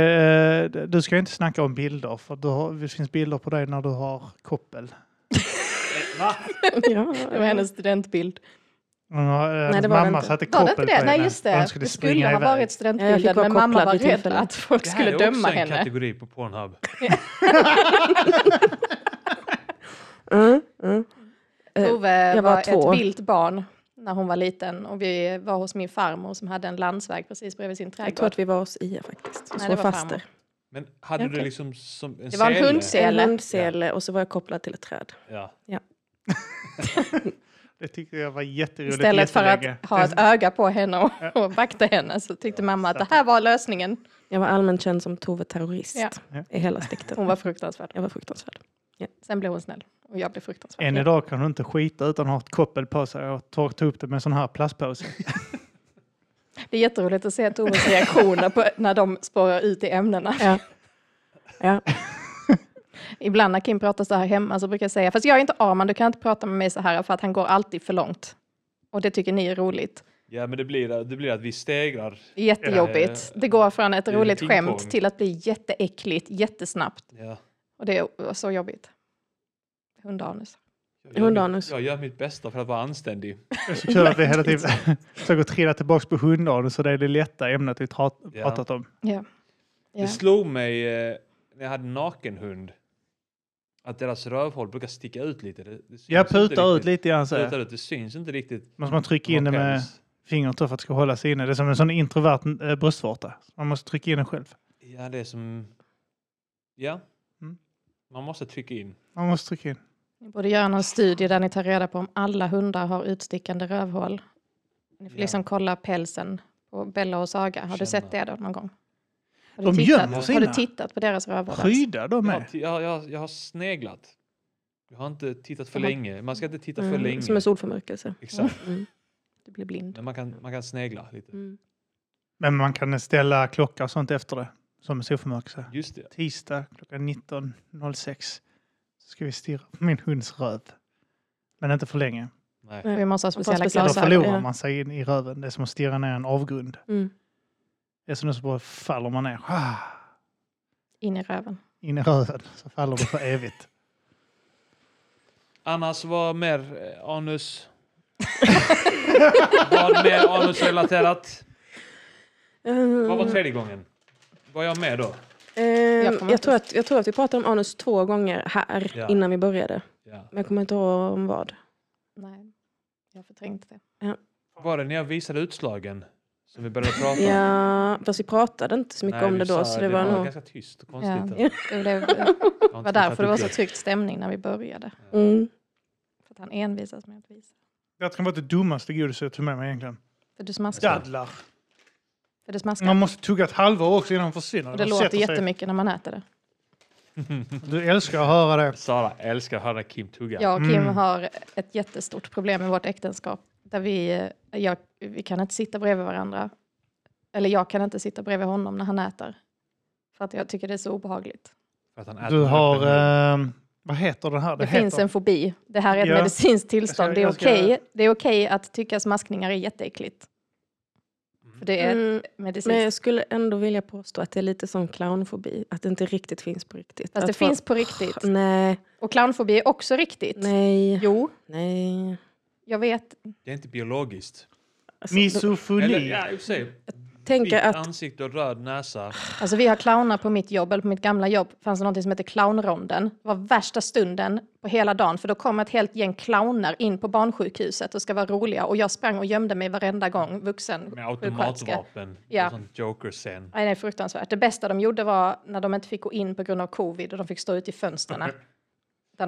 Speaker 2: eh, du ska ju inte snacka om bilder, för du har, det finns bilder på dig när du har koppel.
Speaker 1: Va?
Speaker 3: Ja,
Speaker 4: Det var hennes studentbild.
Speaker 2: Hon har, eh,
Speaker 3: Nej, det var det
Speaker 2: mamma
Speaker 3: inte.
Speaker 2: satte
Speaker 4: Var
Speaker 2: koppel
Speaker 4: det inte
Speaker 2: på
Speaker 4: det? Nej
Speaker 2: henne,
Speaker 4: just
Speaker 2: för
Speaker 4: det.
Speaker 2: han
Speaker 4: det skulle
Speaker 2: springa
Speaker 4: ha
Speaker 2: iväg.
Speaker 4: varit
Speaker 3: Ja, jag fick
Speaker 4: studentbilden
Speaker 3: vara
Speaker 4: men mamma
Speaker 3: kopplad
Speaker 4: var
Speaker 3: vid
Speaker 4: rädd
Speaker 3: tillfället.
Speaker 4: att folk
Speaker 1: Det
Speaker 4: skulle
Speaker 1: här är också
Speaker 4: döma
Speaker 1: en
Speaker 4: henne.
Speaker 1: kategori på Pornhub.
Speaker 3: Mm, mm. Eh,
Speaker 4: Tove
Speaker 3: jag
Speaker 4: var,
Speaker 3: var två.
Speaker 4: ett vilt barn när hon var liten och vi var hos min farmor som hade en landsväg precis bredvid sin
Speaker 3: Jag tror
Speaker 4: trädgård.
Speaker 3: att vi var hos Ia faktiskt.
Speaker 4: Nej,
Speaker 3: Nej,
Speaker 4: det
Speaker 3: så
Speaker 4: var
Speaker 3: fast
Speaker 4: farmor.
Speaker 3: där.
Speaker 1: Men hade du
Speaker 3: Okej.
Speaker 1: liksom som en
Speaker 4: Det var en
Speaker 1: sele?
Speaker 4: hundsele.
Speaker 3: En
Speaker 4: Sele.
Speaker 3: hundsele och så var jag kopplad till ett träd.
Speaker 1: Ja.
Speaker 2: Det tyckte jag var jätteroligt
Speaker 4: Istället för
Speaker 2: jättelänge.
Speaker 4: att ha ett öga på henne och, och vakta henne så tyckte mamma att det här var lösningen.
Speaker 3: Jag var allmänt känd som Tove terrorist
Speaker 4: Ja.
Speaker 2: Ja.
Speaker 3: i hela släkten.
Speaker 4: Hon var fruktansvärd.
Speaker 3: Jag var fruktansvärd.
Speaker 4: Sen blev hon snäll och jag blev fruktansvärd.
Speaker 2: Än
Speaker 4: Ja.
Speaker 2: idag kan du inte skita utan att ha ett koppel på sig och torka upp det med en sån här plastpåse.
Speaker 4: Det är jätteroligt att se Toves reaktioner på, när de spårar ut i ämnena.
Speaker 3: Ja. Ja.
Speaker 4: Ibland när Kim pratar så här hemma så brukar jag säga, fast jag är inte Arman, du kan inte prata med mig så här för att han går alltid för långt. Och det tycker ni är roligt.
Speaker 1: ja, men det blir, det blir att vi stegrar.
Speaker 4: Det är Jättejobbigt.
Speaker 1: Ja.
Speaker 4: Det går från ett
Speaker 1: Eh, Det är
Speaker 4: roligt
Speaker 1: ping
Speaker 4: skämt
Speaker 1: pong.
Speaker 4: till att bli jätteäckligt jättesnabbt.
Speaker 1: Ja.
Speaker 4: Och det är så jobbigt. Hundanus.
Speaker 1: Jag gör mitt-
Speaker 3: Hundanus.
Speaker 1: Jag gör mitt bästa för att vara anständig.
Speaker 2: Det är så kul att vi hela tiden försöker trilla tillbaka på hundagen så det är det lätta ämnet vi tra-
Speaker 1: Ja.
Speaker 2: pratat om.
Speaker 4: Ja.
Speaker 1: Det
Speaker 4: Ja.
Speaker 1: slog mig eh, när jag hade nakenhund att deras rövhål brukar sticka ut lite. Det, det syns
Speaker 2: Jag
Speaker 1: inte
Speaker 2: putar ut
Speaker 1: riktigt.
Speaker 2: lite grann så här.
Speaker 1: Putar ut, det syns inte riktigt.
Speaker 2: Måste man trycka
Speaker 1: om
Speaker 2: in det
Speaker 1: har
Speaker 2: med
Speaker 1: päls.
Speaker 2: fingret då för att det ska hålla sig inne. Det är som en sån introvert eh, bröstvårta. Man måste trycka in den själv.
Speaker 1: Ja, det är som... Ja.
Speaker 2: Mm.
Speaker 1: Man måste trycka in.
Speaker 2: Man måste trycka in.
Speaker 4: Ni borde göra någon studie där ni tar reda på om alla hundar har utstickande rövhål. Ni får
Speaker 1: Ja.
Speaker 4: liksom kolla pälsen på Bella och Saga. Har du
Speaker 1: Känna.
Speaker 4: sett det då någon gång? Har
Speaker 2: De
Speaker 4: du
Speaker 2: gömmer
Speaker 4: tittat, har
Speaker 2: sina.
Speaker 4: du tittat på deras rövhål? alls?
Speaker 2: Pryda de
Speaker 1: Jag har,
Speaker 2: med.
Speaker 1: ti- jag, har- jag, har- jag har sneglat. Jag har inte tittat för
Speaker 4: Jag har-
Speaker 1: länge. Man ska inte titta för
Speaker 3: Mm,
Speaker 1: länge.
Speaker 3: som en solförmörkelse.
Speaker 1: Exakt.
Speaker 3: Mm.
Speaker 4: Du Alltså, blir blind.
Speaker 1: Men man kan, man kan snegla lite.
Speaker 3: Mm.
Speaker 2: Men man kan ställa klocka och sånt efter det. Som en solförmörkelse.
Speaker 1: Just det.
Speaker 2: Tisdag klockan 19.06 så ska vi stirra på min hunds röv. Men inte för länge.
Speaker 1: Nej.
Speaker 3: Nej.
Speaker 4: Vi måste ha
Speaker 3: får
Speaker 4: speciella
Speaker 2: Då
Speaker 3: speciella
Speaker 4: glasögon.
Speaker 2: förlorar
Speaker 3: ja.
Speaker 2: man sig in i röven. Det är som att stirra ner i en avgrund.
Speaker 3: Mm.
Speaker 2: Det är som att så bara faller man ner. Ah.
Speaker 4: In i röven.
Speaker 2: In i röven så faller du för evigt.
Speaker 1: Annars, vad mer eh, anus? vad mer anusrelaterat?
Speaker 3: Mm.
Speaker 1: Vad var tredje gången? Var jag med då?
Speaker 3: Ehm,
Speaker 4: Jag kommer
Speaker 3: jag,
Speaker 4: inte-
Speaker 3: tror att, jag tror att vi pratade om anus två gånger här
Speaker 1: Ja.
Speaker 3: innan vi började.
Speaker 1: Ja.
Speaker 3: Men jag kommer inte ihåg om vad.
Speaker 4: Nej, jag förträngde det.
Speaker 1: Var det när jag visade utslagen? Som vi började prata om?
Speaker 3: Ja, fast vi pratade inte så mycket
Speaker 1: Nej,
Speaker 3: om
Speaker 1: vi
Speaker 3: det då.
Speaker 1: sa-
Speaker 3: Så det var nog...
Speaker 1: ganska tyst och konstigt.
Speaker 4: Ja.
Speaker 1: att-
Speaker 4: Det, blev,
Speaker 1: jag har
Speaker 4: det
Speaker 1: inte
Speaker 4: var
Speaker 1: tittat
Speaker 4: därför det
Speaker 1: upp
Speaker 4: var så
Speaker 1: det.
Speaker 4: tryckt stämning när vi började.
Speaker 3: Mm.
Speaker 4: För att han envisas med att visa.
Speaker 2: Det kan vara det dummaste godiset jag tog med mig egentligen.
Speaker 4: För du smaskar.
Speaker 2: Dadlar.
Speaker 4: För du smaskar.
Speaker 2: Man måste tugga ett halvår också innan de försvinner.
Speaker 4: och det
Speaker 2: De
Speaker 4: låter
Speaker 2: sätter sig.
Speaker 4: jättemycket när man äter det.
Speaker 2: Du älskar att höra det.
Speaker 1: Sara älskar att höra Kim tugga.
Speaker 4: Jag och Kim
Speaker 2: Mm.
Speaker 4: har ett jättestort problem i vårt äktenskap. Där vi, jag, vi kan inte sitta bredvid varandra. Eller jag kan inte sitta bredvid honom när han äter. För att jag tycker det är så obehagligt.
Speaker 1: För att han äter
Speaker 2: Du
Speaker 1: med
Speaker 2: har...
Speaker 1: öppen mun.
Speaker 2: ehm, vad heter den här?
Speaker 4: Det, finns en fobi. Det här är ett
Speaker 2: Ja.
Speaker 4: medicinskt tillstånd. Det är
Speaker 2: Jag ska- jag ska-
Speaker 4: okej Det är okej att tycka smaskningar är jätteäckligt. För det är
Speaker 3: Mm.
Speaker 4: medicinskt.
Speaker 3: Men jag skulle ändå vilja påstå att det är lite som clownfobi. Att det inte riktigt finns på riktigt.
Speaker 4: Fast
Speaker 3: att
Speaker 4: det
Speaker 3: folk-
Speaker 4: finns på riktigt.
Speaker 3: Nej,
Speaker 4: Och clownfobi är också riktigt.
Speaker 3: nej,
Speaker 4: Jo,
Speaker 3: nej.
Speaker 4: jag vet.
Speaker 1: Det är inte biologiskt.
Speaker 3: Alltså,
Speaker 1: Eller,
Speaker 2: Misofoni.
Speaker 1: ja, i och för sig.
Speaker 3: tänker
Speaker 1: Vitt
Speaker 3: att-
Speaker 1: ansikte och röd näsa.
Speaker 4: Alltså vi har clowner på mitt jobb, eller på mitt gamla jobb, fanns det någonting som hette clownronden. Det var värsta stunden på hela dagen, för då kom ett helt gäng clowner in på barnsjukhuset och ska vara roliga. Och jag sprang och gömde mig varenda gång, vuxen
Speaker 1: Med
Speaker 4: sjuksköterska.
Speaker 1: automatvapen.
Speaker 4: Ja.
Speaker 1: Och sån joker-scen.
Speaker 4: Nej, det är fruktansvärt. Det bästa de gjorde var när de inte fick gå in på grund av covid och de fick stå ute i fönstren. Där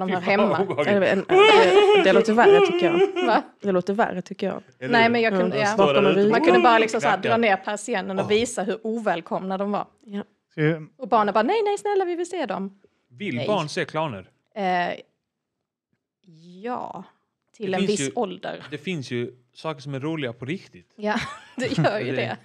Speaker 4: de hör hemma.
Speaker 3: Ja, det, var en, det, det låter värre tycker jag.
Speaker 4: Va?
Speaker 3: Det låter värre tycker jag.
Speaker 4: Nej, men jag kunde,
Speaker 3: Mm.
Speaker 4: ja,
Speaker 3: Står där ute.
Speaker 4: man kunde bara liksom så här, dra ner persiennen och visa hur ovälkomna de var.
Speaker 2: Ska vi-
Speaker 4: Och barnen bara, nej, nej, snälla, vi vill se dem.
Speaker 1: Vill
Speaker 4: Nej.
Speaker 1: barn se clowner?
Speaker 4: Eh, ja, till
Speaker 1: Det
Speaker 4: en
Speaker 1: finns
Speaker 4: viss
Speaker 1: ju-
Speaker 4: ålder.
Speaker 1: Det finns ju saker som är roliga på riktigt.
Speaker 4: Ja, det gör ju
Speaker 1: Det-
Speaker 4: det.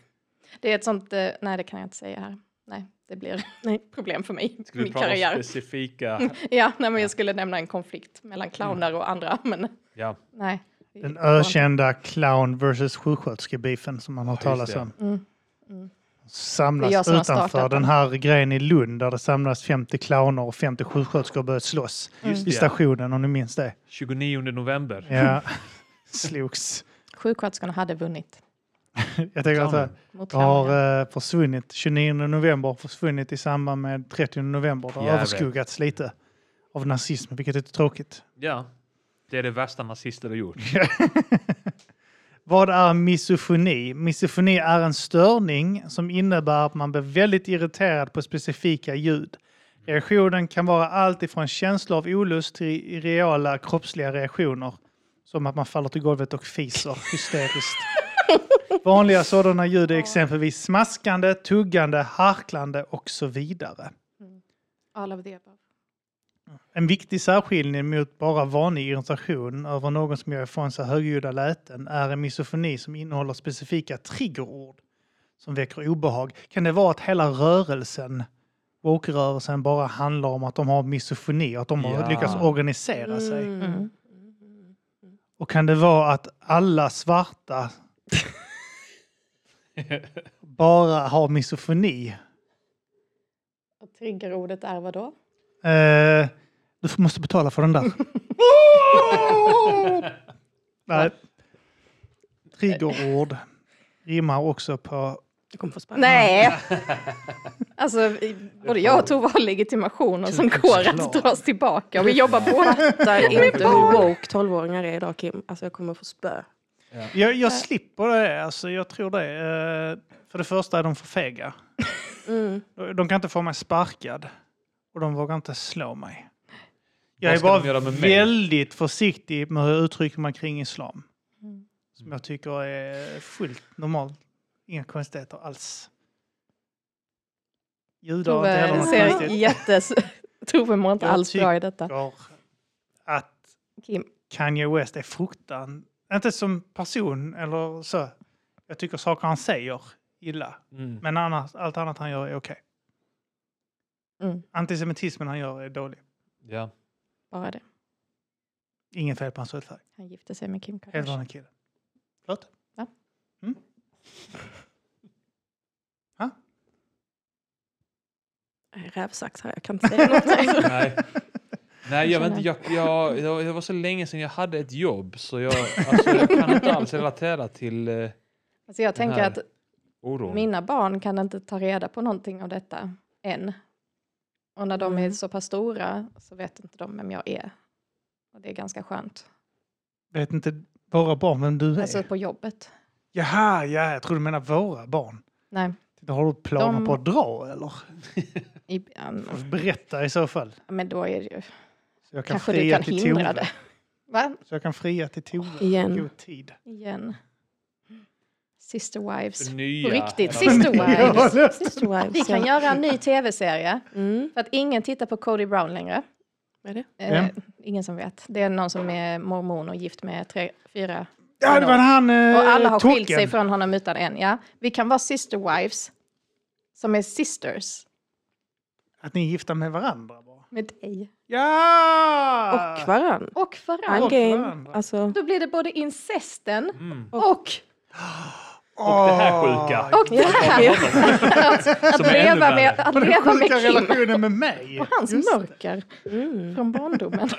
Speaker 4: Det är ett sånt... Eh, nej, det kan jag inte säga här. Nej, det blir nej. problem för mig.
Speaker 1: Ska vi
Speaker 4: min
Speaker 1: prata om
Speaker 4: karriär.
Speaker 1: specifika...
Speaker 4: Ja, nej, men jag skulle nämna en konflikt mellan
Speaker 1: Mm.
Speaker 4: clowner och andra, men
Speaker 1: Ja,
Speaker 4: nej.
Speaker 2: Den ökända clown versus sjuksköterske-beefen som man har
Speaker 1: Ja, just
Speaker 2: talat
Speaker 1: det.
Speaker 2: om.
Speaker 4: Mm, mm. Det
Speaker 2: samlas
Speaker 4: är jag som har
Speaker 2: utanför
Speaker 4: startat
Speaker 2: den
Speaker 4: den.
Speaker 2: här grejen i Lund där det samlas 50 clowner och 50 sjuksköterskor och börjar slåss
Speaker 4: Mm.
Speaker 1: Just
Speaker 2: i
Speaker 1: det, ja.
Speaker 2: stationen om ni minns det.
Speaker 1: 29 november.
Speaker 2: Ja, slogs.
Speaker 4: Sjuksköterskorna hade vunnit.
Speaker 2: Jag tänker att det
Speaker 4: Mot clownen.
Speaker 2: har eh, försvunnit, 29 november försvunnit i samband med 30 november. Det har
Speaker 1: Jävlar.
Speaker 2: överskuggats lite av nazism, vilket är lite tråkigt.
Speaker 1: Ja. Det är det värsta nazister har gjort.
Speaker 2: Vad är misofoni? Misofoni är en störning som innebär att man blir väldigt irriterad på specifika ljud. Reaktionen kan vara allt ifrån känslor av olust till reala kroppsliga reaktioner. Som att man faller till golvet och fiser hysteriskt. Vanliga sådana ljud är exempelvis smaskande, tuggande, harklande och så vidare.
Speaker 4: All of the above.
Speaker 2: En viktig särskiljning mot bara vanlig irritation över någon som gör ifrån sig högljudda läten är en misofoni som innehåller specifika triggerord som väcker obehag. Kan det vara att hela rörelsen, woke-rörelsen, bara handlar om att de har misofoni och att de
Speaker 1: Ja.
Speaker 2: har lyckats organisera sig?
Speaker 4: Mm.
Speaker 2: Och kan det vara att alla svarta bara har misofoni?
Speaker 4: Och triggerordet är vad då?
Speaker 2: Eh, du får- måste betala för den där. Nej. Triggerord rimmar också på...
Speaker 3: Du kommer få sparken.
Speaker 4: Nej! Alltså, i- både jag och Tove har legitimationer som går att dras tillbaka. Och vi jobbar båda.
Speaker 3: Fatta inte hur woke 12-åringar är idag Kim. Alltså jag kommer få spö.
Speaker 2: Jag, jag slipper det, alltså, jag tror det. Eh, för det första är de för fega.
Speaker 3: Mm.
Speaker 2: De- De kan inte få mig sparkad. Och de vågar inte slå mig. Jag
Speaker 1: Vad
Speaker 2: är
Speaker 1: ska de
Speaker 2: bara
Speaker 1: göra med mig?
Speaker 2: väldigt försiktig med hur jag uttrycker mig kring islam.
Speaker 4: Mm.
Speaker 2: Som jag tycker är fullt normalt. Inga konstigheter alls. Judar har inte heller
Speaker 4: Tove
Speaker 2: något
Speaker 4: ser
Speaker 2: konstigt.
Speaker 4: jättes... Tove mår inte
Speaker 2: Jag
Speaker 4: alls bra i detta.
Speaker 2: tycker att
Speaker 4: Kim,
Speaker 2: Kanye West är fruktan... Inte som person eller så. Jag tycker saker han säger illa.
Speaker 1: Mm.
Speaker 2: Men annars, allt annat han gör är okej.
Speaker 4: Mm.
Speaker 2: Antisemitismen han gör är dålig.
Speaker 1: Ja.
Speaker 4: bara det.
Speaker 2: Ingen fel på hans hudfärg.
Speaker 4: Han gifte sig med Kim
Speaker 2: Helt
Speaker 4: Kardashian.
Speaker 2: vanlig kille. Förlåt?
Speaker 4: Va?
Speaker 2: Mm? Ha?
Speaker 3: Nej, Rävsax här, jag kan inte säga något.
Speaker 1: Nej. Nej, jag, vet inte,
Speaker 4: känner-
Speaker 1: jag, jag, jag, det var så länge sedan jag hade ett jobb så jag, alltså, jag kan inte alls relatera till eh,
Speaker 4: Alltså jag
Speaker 1: Den
Speaker 4: tänker
Speaker 1: här.
Speaker 4: att
Speaker 1: oron.
Speaker 4: Mina barn kan inte ta reda på någonting av detta än. Och när de är
Speaker 3: Mm.
Speaker 4: så pass stora så vet inte de vem jag är. Och det är ganska skönt.
Speaker 2: Vet inte våra barn vem du är?
Speaker 4: Alltså på jobbet.
Speaker 2: Jaha, ja, jag tror du menar våra barn.
Speaker 4: Nej,
Speaker 2: Då har du planer
Speaker 4: De-
Speaker 2: på att dra eller?
Speaker 4: i, um,
Speaker 2: Berätta i så fall.
Speaker 4: men då är det ju...
Speaker 2: Så jag kan
Speaker 4: Kanske du
Speaker 2: fria
Speaker 4: kan
Speaker 2: till
Speaker 4: hindra
Speaker 2: Tove.
Speaker 4: det. Va?
Speaker 2: Så jag kan fria till Tove.
Speaker 3: Igen.
Speaker 2: God tid.
Speaker 4: Igen. Sister
Speaker 2: Mm.
Speaker 4: Wives.
Speaker 1: Nya,
Speaker 4: På riktigt,
Speaker 1: eller-
Speaker 4: Sister
Speaker 2: Ja,
Speaker 4: Wives.
Speaker 2: det-
Speaker 3: Sister Wives,
Speaker 4: Vi kan
Speaker 3: ja.
Speaker 4: göra en ny tv-serie.
Speaker 3: Mm.
Speaker 4: För att ingen tittar på Cody Brown längre.
Speaker 3: Är det?
Speaker 4: Eh,
Speaker 2: Vem?
Speaker 4: Ingen som vet. Det är någon som är mormon och gift med tre, fyra
Speaker 2: Ja, det var han eh,
Speaker 4: Och alla har skilt sig
Speaker 2: token.
Speaker 4: från honom utan en. Ja. Vi kan vara sister wives som är sisters
Speaker 2: Att ni är gifta med varandra bara.
Speaker 4: med dig
Speaker 2: Ja!
Speaker 3: Och varann.
Speaker 4: och
Speaker 2: Och
Speaker 4: varann.
Speaker 2: Okej.
Speaker 3: Angame.
Speaker 2: varandra.
Speaker 3: Alltså,
Speaker 4: Då blir det både incesten
Speaker 1: Mm.
Speaker 4: och
Speaker 1: Och det här sjuka.
Speaker 4: Och det här! att,
Speaker 1: Som
Speaker 4: att
Speaker 1: är ännu
Speaker 4: leva med,
Speaker 1: värre.
Speaker 4: att
Speaker 2: Och den
Speaker 4: leva med
Speaker 2: sjuka
Speaker 4: Kim
Speaker 2: relationen med mig.
Speaker 4: och hans
Speaker 2: Just det.
Speaker 4: mörker
Speaker 3: mm.
Speaker 4: från barndomen.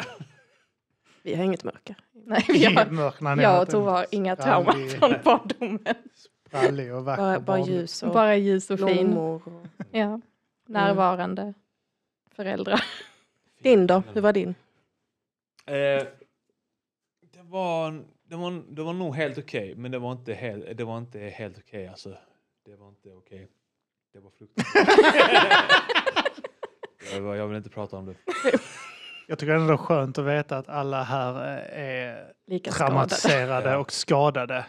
Speaker 3: vi har inget mörker.
Speaker 4: Nej,
Speaker 2: Det
Speaker 4: vi
Speaker 2: är
Speaker 4: har,
Speaker 2: mörkt när ni
Speaker 4: jag
Speaker 2: har
Speaker 4: och Tove har inga
Speaker 2: en
Speaker 4: trauman
Speaker 2: sprallig-
Speaker 4: från barndomen.
Speaker 2: sprallig och vacker
Speaker 3: Bara, bara
Speaker 2: barn.
Speaker 3: ljus och
Speaker 4: Bara ljus och fin.
Speaker 3: blommor. Och...
Speaker 4: Ja.
Speaker 2: Mm.
Speaker 4: Närvarande föräldrar.
Speaker 3: Din då? Hur var din?
Speaker 1: Eh, det, var, det, var, det var nog helt okej, men det var inte, hel, det var inte helt okej. alltså. Det var inte okej. Det var fruktansvärt. jag, var- jag vill inte prata om det.
Speaker 2: Jag tycker ändå det är skönt att veta att alla här eh, är
Speaker 3: Lika skadad.
Speaker 2: traumatiserade
Speaker 1: Ja.
Speaker 2: och skadade.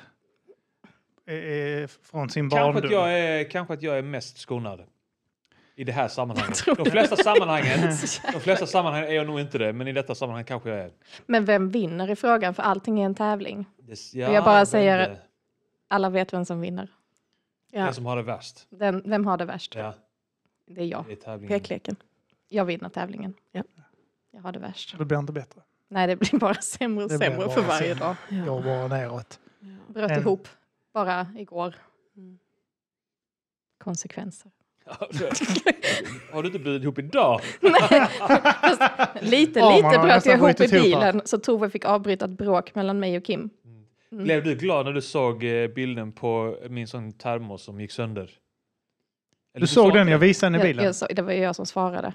Speaker 2: Eh, eh, Från sin
Speaker 1: Kanske att, jag
Speaker 2: barndom.
Speaker 1: är, kanske att jag är mest skonad. I det här sammanhanget. De flesta sammanhangen, de flesta sammanhang är jag nog inte det, men i detta sammanhang kanske jag är.
Speaker 4: Men vem vinner i frågan? För allting är en tävling.
Speaker 1: Det,
Speaker 4: Jag bara
Speaker 1: vem
Speaker 4: säger-
Speaker 1: det-
Speaker 4: Alla vet vem som vinner.
Speaker 1: Den
Speaker 2: Alltså-
Speaker 3: Ja,
Speaker 1: som har det värst.
Speaker 4: Den, vem har det värst?
Speaker 1: Ja,
Speaker 4: Det är jag.
Speaker 1: det är tävlingen.
Speaker 3: pekleken.
Speaker 4: Jag vinner tävlingen.
Speaker 3: Ja.
Speaker 4: Jag har det värst.
Speaker 2: Det blir inte bättre.
Speaker 4: Nej, det blir bara sämre och
Speaker 2: Det blir
Speaker 4: sämre
Speaker 2: bara
Speaker 4: för varje
Speaker 2: sämre.
Speaker 4: dag.
Speaker 2: Går
Speaker 3: Ja.
Speaker 2: bara neråt.
Speaker 4: Bröt
Speaker 2: En-
Speaker 4: ihop bara igår.
Speaker 3: Mm.
Speaker 4: Mm. konsekvenser.
Speaker 1: Alltså, Har du inte bjudit ihop idag?
Speaker 4: Nej, fast lite,
Speaker 2: Ja, man
Speaker 4: lite
Speaker 2: har
Speaker 4: bröt
Speaker 2: nästan
Speaker 4: jag ihop i
Speaker 2: brutit ihop, va?
Speaker 4: bilen så Tove fick avbryta ett bråk mellan mig och Kim. Mm.
Speaker 1: Blev du glad när du såg eh, bilden på min sån termos som gick sönder? Eller
Speaker 2: Du såg
Speaker 1: sa
Speaker 2: den,
Speaker 1: inte
Speaker 2: jag visade den i
Speaker 4: Jag,
Speaker 2: bilen.
Speaker 4: jag, sa- det var ju jag som svarade.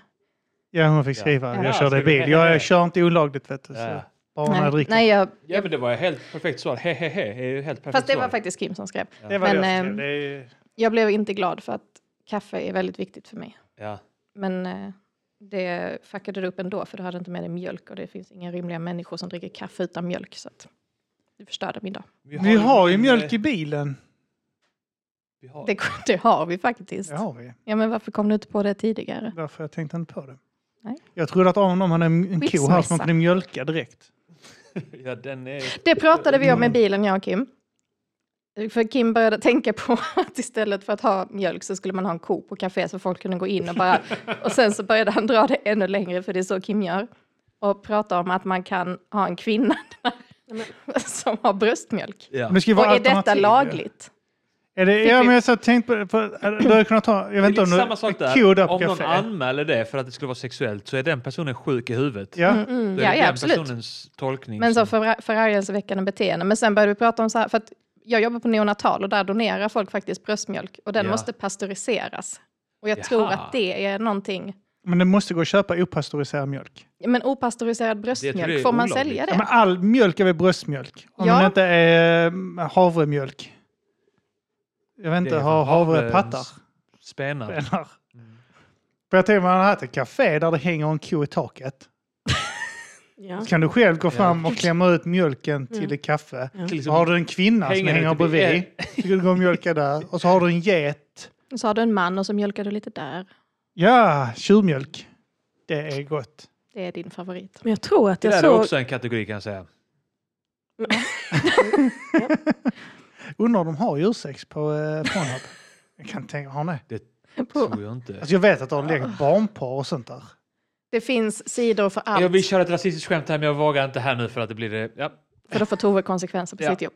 Speaker 2: Ja, hon fick
Speaker 1: Ja.
Speaker 2: skriva.
Speaker 1: Ja,
Speaker 2: Jag körde
Speaker 1: så
Speaker 2: i bil.
Speaker 1: du-
Speaker 2: Jag, jag kör inte olagligt, vet du. Så
Speaker 1: Ja.
Speaker 2: bara när jag
Speaker 4: Nej,
Speaker 2: dricker.
Speaker 4: nej jag,
Speaker 1: ja, men det var ett helt perfekt svar. He, he, he. är ju Helt perfekt
Speaker 4: fast det var
Speaker 1: svar.
Speaker 4: faktiskt Kim som skrev.
Speaker 2: Det var
Speaker 4: Men,
Speaker 2: det jag
Speaker 4: ehm,
Speaker 2: skrev. det är...
Speaker 4: Jag blev inte glad för att kaffe är väldigt viktigt för mig.
Speaker 1: Ja.
Speaker 4: Men eh, det fuckade du upp ändå för du hade inte med dig mjölk och det finns inga rimliga människor som dricker kaffe utan mjölk. Så att du förstörde min dag.
Speaker 2: Vi har ju
Speaker 1: en,
Speaker 2: mjölk
Speaker 1: eh,
Speaker 2: i bilen.
Speaker 1: vi har-
Speaker 4: Det, det har vi faktiskt.
Speaker 2: Det har vi.
Speaker 4: Ja men varför kom du inte på det tidigare?
Speaker 2: Därför jag tänkte inte på det.
Speaker 4: Nej.
Speaker 2: Jag trodde att Aron om han hade en en ko här som
Speaker 4: Skilsmässa.
Speaker 2: man kunde mjölka direkt.
Speaker 1: Ja, den är...
Speaker 4: Det pratade vi om
Speaker 1: Mm.
Speaker 4: i bilen jag och Kim. För Kim började tänka på att istället för att ha mjölk så skulle man ha en ko på café så folk kunde gå in och bara... Och sen så började han dra det ännu längre för det är så Kim gör. Och prata om att man kan ha en kvinna som har bröstmjölk.
Speaker 1: Ja.
Speaker 2: Men det ska ju
Speaker 4: Och
Speaker 2: vara
Speaker 4: är detta
Speaker 2: alternativ.
Speaker 4: lagligt?
Speaker 2: Är det,
Speaker 4: Fick
Speaker 2: ja,
Speaker 4: vi-
Speaker 2: men jag så tänkt på det. För, hade- du hade kunnat ta, jag vet
Speaker 1: Det
Speaker 2: inte
Speaker 1: är
Speaker 2: om du...
Speaker 1: samma sak
Speaker 2: en ko
Speaker 1: där.
Speaker 2: där på
Speaker 1: Om någon
Speaker 2: café.
Speaker 1: anmäler det för att det skulle vara sexuellt så är den personen sjuk i huvudet.
Speaker 2: Ja.
Speaker 4: Mm, mm,
Speaker 1: Då är
Speaker 4: ja,
Speaker 1: det
Speaker 4: ja,
Speaker 1: den
Speaker 4: absolut.
Speaker 1: personens tolkning.
Speaker 4: Men
Speaker 1: som-
Speaker 4: så för, förargelseväckande beteende. Men sen började vi prata om så här, för att jag jobbar på neonatal och där donerar folk faktiskt bröstmjölk och den
Speaker 1: Ja.
Speaker 4: måste pasteuriseras. Och jag tror
Speaker 1: Jaha.
Speaker 4: att det är någonting.
Speaker 2: Men det måste gå att köpa opastöriserad mjölk.
Speaker 4: Men opasteuriserad bröstmjölk,
Speaker 1: det är
Speaker 4: får man
Speaker 1: olagligt.
Speaker 4: sälja det?
Speaker 2: Ja, men all mjölk är väl bröstmjölk? Om
Speaker 4: Ja.
Speaker 2: den inte är ehm, havremjölk. Jag vet
Speaker 1: Det
Speaker 2: inte,
Speaker 1: är
Speaker 2: har
Speaker 1: havre-
Speaker 2: havrepattar?
Speaker 1: Spännande.
Speaker 2: Spelar. Mm. För jag tänker, man hade haft ett café där det hänger en ko i taket.
Speaker 3: Ja.
Speaker 2: Så kan du själv gå
Speaker 1: Ja.
Speaker 2: fram och klämma ut mjölken
Speaker 3: Mm.
Speaker 2: till ett kaffe.
Speaker 1: liksom-
Speaker 2: Så har du en kvinna som
Speaker 1: Hänger
Speaker 2: hänger
Speaker 1: ute vid-
Speaker 2: bredvid. Så kan du gå och mjölka där. Och så har du en get.
Speaker 4: Så har du en man och så mjölkar du lite där.
Speaker 2: Ja, tjurmjölk. Det är gott.
Speaker 4: Det är din favorit.
Speaker 3: Men jag tror att
Speaker 1: Det
Speaker 3: jag
Speaker 1: där är
Speaker 3: såg...
Speaker 1: också en kategori kan jag säga.
Speaker 2: Undrar om de har djursex på eh, Pornhub? jag kan tänka, har ni?
Speaker 1: Tror jag inte.
Speaker 2: Alltså jag vet att de har lekt barnpar och sånt där.
Speaker 4: Det finns sidor för
Speaker 1: Jag
Speaker 4: allt.
Speaker 1: vill köra ett rasistiskt skämt här men jag vågar inte här nu för att det blir... eh, Ja.
Speaker 4: För då får Tove konsekvenser på
Speaker 1: Ja.
Speaker 4: sitt jobb.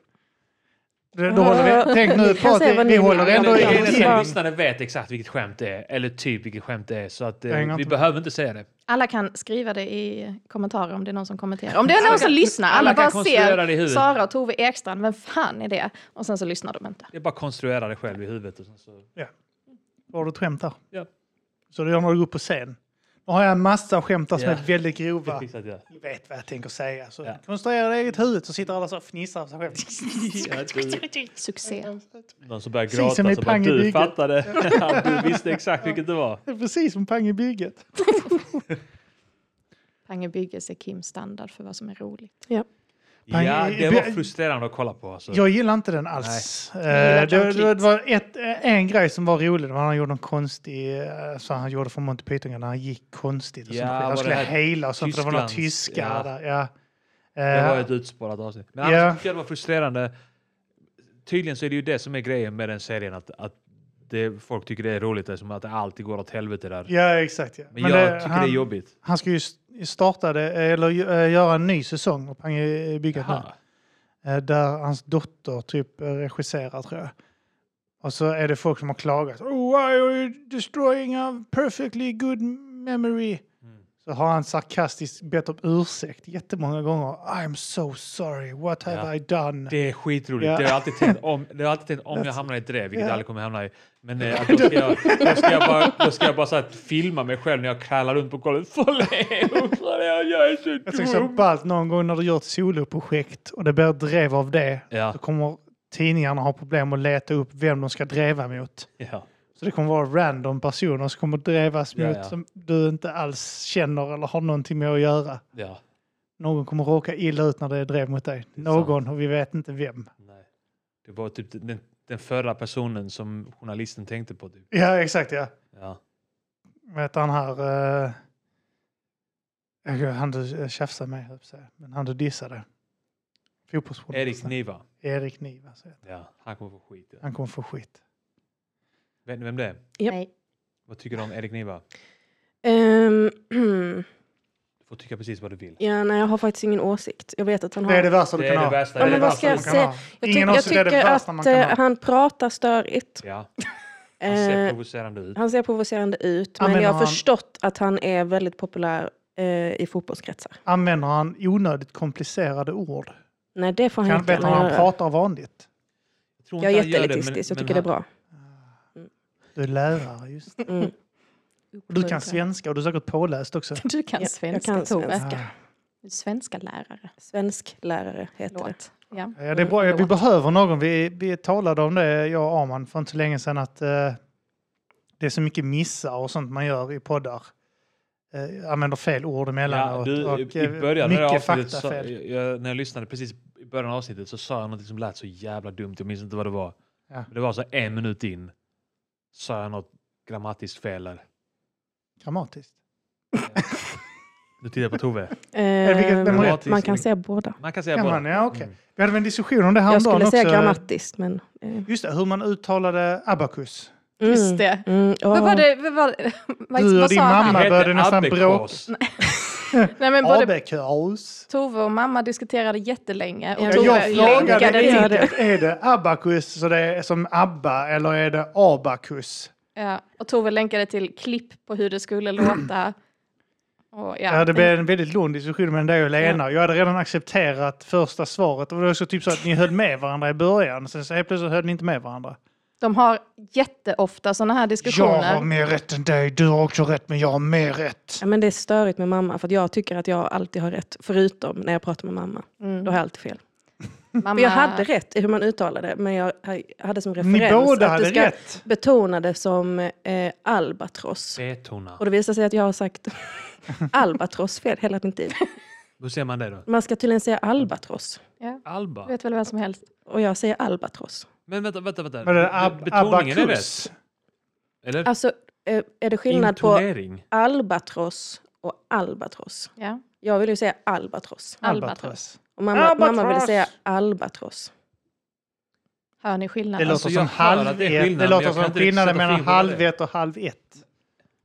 Speaker 2: Det, då håller vi, tänk nu
Speaker 3: Ni
Speaker 2: på
Speaker 3: kan
Speaker 2: att
Speaker 3: säga
Speaker 2: vi,
Speaker 3: vad
Speaker 2: vi
Speaker 3: ni
Speaker 2: håller
Speaker 3: vill.
Speaker 2: ändå
Speaker 3: Ja,
Speaker 1: Eller-
Speaker 3: det är-
Speaker 1: eller-
Speaker 3: det
Speaker 2: i...
Speaker 3: är-
Speaker 1: eller
Speaker 2: i-
Speaker 1: Lyssnarna vet exakt vilket skämt det är, eller typ vilket skämt det är, så att
Speaker 2: Jag hänger
Speaker 1: eh, vi
Speaker 2: inte
Speaker 1: behöver inte säga det.
Speaker 4: Alla kan skriva det i kommentarer om det är någon som kommenterar. Om det är någon som lyssnar. Alla,
Speaker 1: alla kan
Speaker 4: bara
Speaker 1: konstruera det i
Speaker 4: ser
Speaker 1: huvudet.
Speaker 4: Sara och Tove Ekstrand, vem fan är det? Och sen så lyssnar de inte.
Speaker 1: Det är bara att konstruera det själv i huvudet. Och sen så.
Speaker 2: Har du ett skämt där?
Speaker 1: Ja.
Speaker 2: Så det gör när du går upp på scen. Nu har jag en massa skämt där som
Speaker 1: Ja.
Speaker 2: är väldigt
Speaker 1: Det
Speaker 2: grova.
Speaker 1: fixar jag.
Speaker 2: Ni vet vad jag tänker säga. Så
Speaker 1: Ja.
Speaker 2: konstruera det i eget huvud så sitter alla så och fnissar för sig själv.
Speaker 1: Ja, du-
Speaker 4: Succé.
Speaker 1: Någon som börjar
Speaker 2: Precis
Speaker 1: gråta,
Speaker 2: som i
Speaker 1: så bara,
Speaker 2: Pang i
Speaker 1: du
Speaker 2: bygget."
Speaker 1: fattade. Ja, du visste exakt vilket det var.
Speaker 2: Det är precis som pang i bygget.
Speaker 4: Pang i bygges är Kims standard för vad som är roligt.
Speaker 1: Ja,
Speaker 2: Pang i-
Speaker 1: det var frustrerande att kolla på. Alltså.
Speaker 2: Jag gillar inte den alls. Eh, det,
Speaker 4: gillar
Speaker 2: det,
Speaker 4: John Cleese.
Speaker 2: var ett, eh, en grej som var rolig. Det var när han gjorde en konstig, eh, så han gjorde från Monty Python, när han gick konstigt. Och
Speaker 1: Ja,
Speaker 2: sånt.
Speaker 1: var
Speaker 2: Han
Speaker 1: det
Speaker 2: skulle
Speaker 1: här
Speaker 2: hejla och sånt. för Det var några
Speaker 1: Tysklands-
Speaker 2: tyskar
Speaker 1: ja.
Speaker 2: där. Ja.
Speaker 1: Det var
Speaker 2: Eh,
Speaker 1: ett utspårat avsnitt. Men
Speaker 2: Ja.
Speaker 1: annars tyckte jag det var frustrerande. Tydligen så är det ju det som är grejen med den serien, att, att det, folk tycker det är roligt, det är som att det alltid går åt helvete där.
Speaker 2: Ja, exakt. Ja.
Speaker 1: Men,
Speaker 2: Men
Speaker 1: jag
Speaker 2: det-
Speaker 1: tycker
Speaker 2: han,
Speaker 1: det är jobbigt.
Speaker 2: Han ska ju s- starta det, eller eh, göra en ny säsong och pang i bygget nu.
Speaker 1: Jaha.
Speaker 2: Eh, Där hans dotter typ eh, regisserar tror jag. Och så är det folk som har klagat. Oh, why are you destroying a perfectly good memory?
Speaker 1: Mm.
Speaker 2: Så har han sarkastiskt bett om ursäkt jättemånga gånger. I'm so sorry, what have
Speaker 1: Ja.
Speaker 2: I done?
Speaker 1: Det är skitroligt.
Speaker 2: Ja.
Speaker 1: Det har jag alltid tänkt om, det har jag, alltid tänkt, om jag hamnar i ett drev, vilket
Speaker 2: Ja.
Speaker 1: jag aldrig kommer hamna i. Men eh, att då, ska jag, då ska jag bara, då ska jag bara så här, filma mig själv när jag krälar runt på golvet. Förlåt, jag är
Speaker 2: Jag tycker
Speaker 1: så
Speaker 2: så
Speaker 1: dum.
Speaker 2: ballt någon gång när du gör ett soloprojekt och det blir ett drev av det.
Speaker 1: Ja.
Speaker 2: Så kommer tidningarna ha problem att leta upp vem de ska dreva mot.
Speaker 1: Ja.
Speaker 2: Så det kommer vara random personer som kommer drevas
Speaker 1: Ja,
Speaker 2: mot
Speaker 1: ja.
Speaker 2: som du inte alls känner eller har någonting med att göra.
Speaker 1: Ja.
Speaker 2: Någon kommer råka illa ut när det är drev mot dig.
Speaker 1: är
Speaker 2: Någon och vi vet inte vem.
Speaker 1: Nej. Det var typ den, den förra personen som journalisten tänkte på. Typ.
Speaker 2: Ja, exakt ja.
Speaker 1: Ja.
Speaker 2: Vet han här... eh, jag- han du eh, tjafsade med, höll jag på att säga. Men han du dissade.
Speaker 1: Erik
Speaker 2: Fotbollsjournalisten.
Speaker 1: Niva.
Speaker 2: Erik Niva. så heter
Speaker 1: Ja, han kommer få skit.
Speaker 2: han. Han kommer få skit.
Speaker 1: Vet ni vem det är?
Speaker 3: Japp.
Speaker 4: Nej.
Speaker 1: Vad tycker du om Erik Niva?
Speaker 3: Ehm,
Speaker 1: Du får tycka precis vad du vill.
Speaker 3: ja, nej, jag har faktiskt ingen åsikt. Jag vet att han har...
Speaker 2: Det är det värsta du
Speaker 1: Det
Speaker 2: kan
Speaker 1: är
Speaker 2: ha.
Speaker 1: det värsta.
Speaker 3: Ja,
Speaker 1: det är
Speaker 3: men
Speaker 1: det
Speaker 3: vad
Speaker 1: värsta
Speaker 3: ska jag
Speaker 1: man kan
Speaker 3: säga?
Speaker 1: ha.
Speaker 3: Jag,
Speaker 2: Ingen
Speaker 3: tyck-
Speaker 2: av
Speaker 3: jag
Speaker 2: oss är det
Speaker 3: tycker
Speaker 2: värsta man
Speaker 3: att
Speaker 2: kan
Speaker 3: eh,
Speaker 2: ha.
Speaker 3: han pratar eh, störigt.
Speaker 1: Ja. Han ser
Speaker 3: Eh,
Speaker 1: provocerande ut.
Speaker 3: han ser provocerande ut,
Speaker 2: Ja,
Speaker 3: men
Speaker 2: men
Speaker 3: jag har
Speaker 2: han-
Speaker 3: förstått att han är väldigt populär eh, i fotbollskretsar.
Speaker 2: Använder han onödigt komplicerade ord?
Speaker 3: Nej, det får han
Speaker 2: Kan
Speaker 3: inte
Speaker 2: veta när
Speaker 3: gärna
Speaker 2: han
Speaker 3: göra.
Speaker 2: pratar vanligt?
Speaker 1: tror
Speaker 3: Jag är
Speaker 1: inte han gör det,
Speaker 3: jätteelitistisk, jag
Speaker 1: men-
Speaker 3: tycker det är
Speaker 1: men
Speaker 3: bra.
Speaker 2: Du är lärare, just det.
Speaker 3: Mm.
Speaker 2: Och du kan svenska och du är säkert påläst också.
Speaker 4: Du kan
Speaker 3: Ja, jag
Speaker 4: svenska,
Speaker 3: kan
Speaker 4: Tove.
Speaker 3: svenska.
Speaker 2: Ah.
Speaker 4: Du är svenska lärare.
Speaker 3: Svensk lärare heter det.
Speaker 4: Låt. Ja.
Speaker 2: Ja, det är bra. Vi
Speaker 4: Förlåt.
Speaker 2: behöver någon. Vi, vi talade om det, jag och Arman, för inte så länge sedan att eh, det är så mycket missar och sånt man gör i poddar. Eh, använder fel ord
Speaker 1: Ja,
Speaker 2: emellanåt.
Speaker 1: du,
Speaker 2: och,
Speaker 1: i- I
Speaker 2: eh,
Speaker 1: början av det här
Speaker 2: mycket
Speaker 1: avsnittet, så,
Speaker 2: faktafel.
Speaker 1: jag, när jag lyssnade precis i början av avsnittet så sa jag något som lät så jävla dumt. Jag minns inte vad det var.
Speaker 2: Ja.
Speaker 1: Men Det var så en minut in. Sa jag något grammatiskt fel där.
Speaker 2: Grammatiskt.
Speaker 1: Nu tittar jag på Tove.
Speaker 2: Eh, vilket- vem har
Speaker 3: Eh,
Speaker 1: rätt?
Speaker 3: man kan säga båda.
Speaker 1: Man kan säga
Speaker 2: Kan
Speaker 1: båda.
Speaker 2: man? Ja, okej.
Speaker 1: Mm.
Speaker 2: Vi hade en diskussion om det här
Speaker 3: Jag
Speaker 2: om dagen
Speaker 3: skulle
Speaker 2: också.
Speaker 3: säga grammatiskt, men... eh, mm.
Speaker 2: Just det, hur man uttalade abakus.
Speaker 4: Just det.
Speaker 3: Mm, ja.
Speaker 4: Vad var det? Vad, var, vad,
Speaker 2: Du och
Speaker 4: vad
Speaker 2: din
Speaker 4: sa
Speaker 1: Det
Speaker 2: mamma.
Speaker 4: han?
Speaker 1: heter
Speaker 2: började nästan
Speaker 1: abekås.
Speaker 4: Nej, men både
Speaker 2: Abakus.
Speaker 4: Tove och mamma diskuterade jättelänge. Och
Speaker 3: Ja,
Speaker 4: Tove
Speaker 2: Jag frågade
Speaker 4: länkade till-
Speaker 3: gör det.
Speaker 2: enkelt, är det abakus så det är som abba eller är det abakus?
Speaker 4: Ja, och Tove länkade till klipp på hur det skulle låta. Och, ja,
Speaker 2: Ja, det blev en väldigt lång diskussion mellan dig och Lena. Jag hade redan accepterat första svaret. Och det var också typ så att ni höll med varandra i början. Sen så helt plötsligt höll ni inte med varandra.
Speaker 4: De har jätteofta sådana här
Speaker 2: Jag
Speaker 4: diskussioner.
Speaker 2: har mer rätt än dig. Du har också rätt, men jag har mer rätt.
Speaker 3: Ja, men det är störigt med mamma, för att jag tycker att jag alltid har rätt. Förutom när jag pratar med mamma.
Speaker 4: Mm.
Speaker 3: Då har jag alltid fel.
Speaker 4: Mamma,
Speaker 3: För jag hade rätt i hur man uttalade det, men jag hade som referens
Speaker 2: Ni båda
Speaker 3: att du
Speaker 2: hade
Speaker 3: ska
Speaker 2: rätt.
Speaker 3: betona det som eh, albatross.
Speaker 1: Betona.
Speaker 3: Och det visar sig att jag har sagt albatross fel hela min tid.
Speaker 1: Hur ser man det då?
Speaker 3: Man ska tydligen säga albatross.
Speaker 1: Alba?
Speaker 4: Du vet väl vem som helst.
Speaker 3: Och jag säger albatross.
Speaker 1: Men vänta, vänta, vänta.
Speaker 2: Men det
Speaker 1: Be-
Speaker 2: är ab-
Speaker 1: Betoningen är rätt.
Speaker 2: abakus.
Speaker 1: Eller?
Speaker 3: Alltså, eh, är det skillnad på
Speaker 1: Intonering.
Speaker 3: albatross och albatross?
Speaker 4: Ja.
Speaker 3: Jag vill ju säga albatross.
Speaker 4: Albatross.
Speaker 3: Och mamma, mamma ville
Speaker 2: Albatross!
Speaker 3: säga albatross.
Speaker 4: Hör ni
Speaker 2: Det
Speaker 4: skillnaden?
Speaker 2: låter
Speaker 1: Alltså, jag
Speaker 2: som
Speaker 1: hör att
Speaker 2: halv
Speaker 1: det är
Speaker 2: ett.
Speaker 1: skillnad,
Speaker 2: Det
Speaker 1: men
Speaker 2: låter
Speaker 1: jag kan
Speaker 2: som
Speaker 1: inte riktigt
Speaker 2: skillnaden
Speaker 1: sätta
Speaker 2: mellan
Speaker 1: fingret på
Speaker 2: halv
Speaker 1: det.
Speaker 2: ett och halv ett.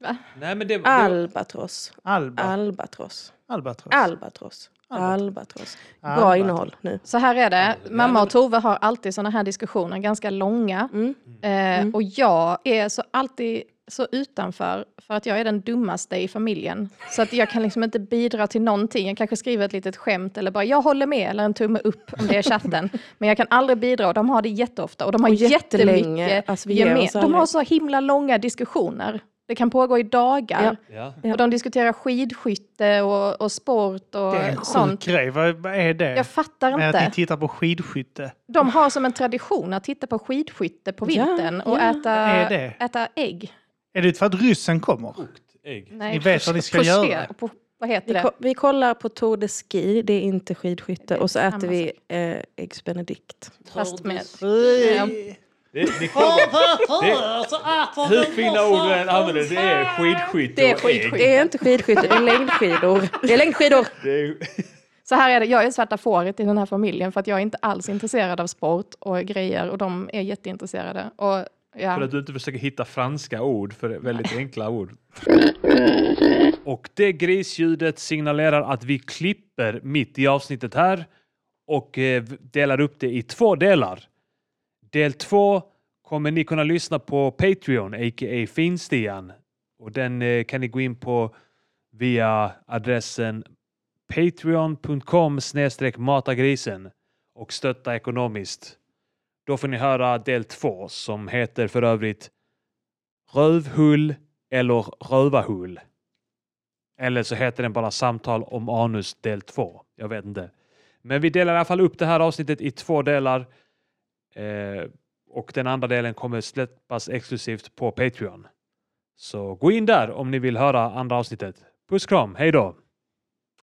Speaker 1: Nej, men det, det,
Speaker 3: Albatross.
Speaker 2: Alba.
Speaker 3: Albatross.
Speaker 2: Albatross.
Speaker 3: Albatross. Albatross. Bra
Speaker 2: Albatross.
Speaker 3: innehåll nu.
Speaker 4: Så här är det.
Speaker 1: Ja, det-
Speaker 4: Mamma och Tove har alltid sådana här diskussioner, ganska långa.
Speaker 3: Mm.
Speaker 4: Eh,
Speaker 3: Mm.
Speaker 4: Och jag är så alltid så utanför för att jag är den dummaste i familjen. Så att jag kan liksom inte bidra till någonting. Jag kanske skriver ett litet skämt eller bara jag håller med eller en tumme upp om det är chatten. Men jag kan aldrig bidra och de har det jätteofta och de har
Speaker 3: Och jättelänge.
Speaker 4: jättemycket
Speaker 3: Alltså, vi ger
Speaker 4: gemen-
Speaker 3: oss
Speaker 4: De
Speaker 3: aldrig.
Speaker 4: har så himla långa diskussioner. Det kan pågå i dagar.
Speaker 3: Ja.
Speaker 1: ja.
Speaker 3: Ja.
Speaker 4: Och de diskuterar skidskytte och, och sport och
Speaker 2: Det är en sjuk eh,
Speaker 4: sånt.
Speaker 2: grej. Vad vad är det?
Speaker 4: Jag fattar
Speaker 2: Med
Speaker 4: inte.
Speaker 2: att ni tittar på skidskytte.
Speaker 4: De har som en tradition att titta på skidskytte på
Speaker 3: Ja,
Speaker 4: vintern och
Speaker 3: ja.
Speaker 4: äta,
Speaker 2: Är det?
Speaker 4: äta ägg.
Speaker 2: Är det för att ryssen kommer?
Speaker 1: Kokt ägg.
Speaker 4: Nej,
Speaker 2: Ni vet vad ni ska
Speaker 4: poché-
Speaker 2: göra.
Speaker 4: po- Vad heter
Speaker 3: Vi,
Speaker 4: det?
Speaker 3: ko- vi kollar på Tour de Ski, det är inte skidskytte.
Speaker 4: Det är
Speaker 3: och så
Speaker 4: samma
Speaker 3: äter vi eh, äggs benedict.
Speaker 4: Fast med... Ja.
Speaker 1: Det, det kommer, det, hur fina ord du än använder, det är skidskytte
Speaker 3: Det är,
Speaker 1: och ägg.
Speaker 3: skidskytte. det är inte skidskytte, det är längdskidor. Det är längdskidor!
Speaker 1: Det är-
Speaker 4: Så här är det, jag är svarta fåret i den här familjen för att jag är inte alls intresserad av sport och grejer och de är jätteintresserade. Och,
Speaker 1: För
Speaker 4: ja.
Speaker 1: att du inte försöker hitta franska ord för väldigt enkla ord. Och det grisljudet signalerar att vi klipper mitt i avsnittet här och eh, delar upp det i två delar. Del två kommer ni kunna lyssna på Patreon, a.k.a. Finstian. Och den eh, kan ni gå in på via adressen patreon.com matagrisen och stötta ekonomiskt. Då får ni höra del två som heter för övrigt Rövhull eller Rövahull. Eller så heter den bara Samtal om anus del två. Jag vet inte. Men vi delar i alla fall upp det här avsnittet i två delar. Eh, och den andra delen kommer släppas exklusivt på Patreon. Så gå in där om ni vill höra andra avsnittet. Puss kram, hej då!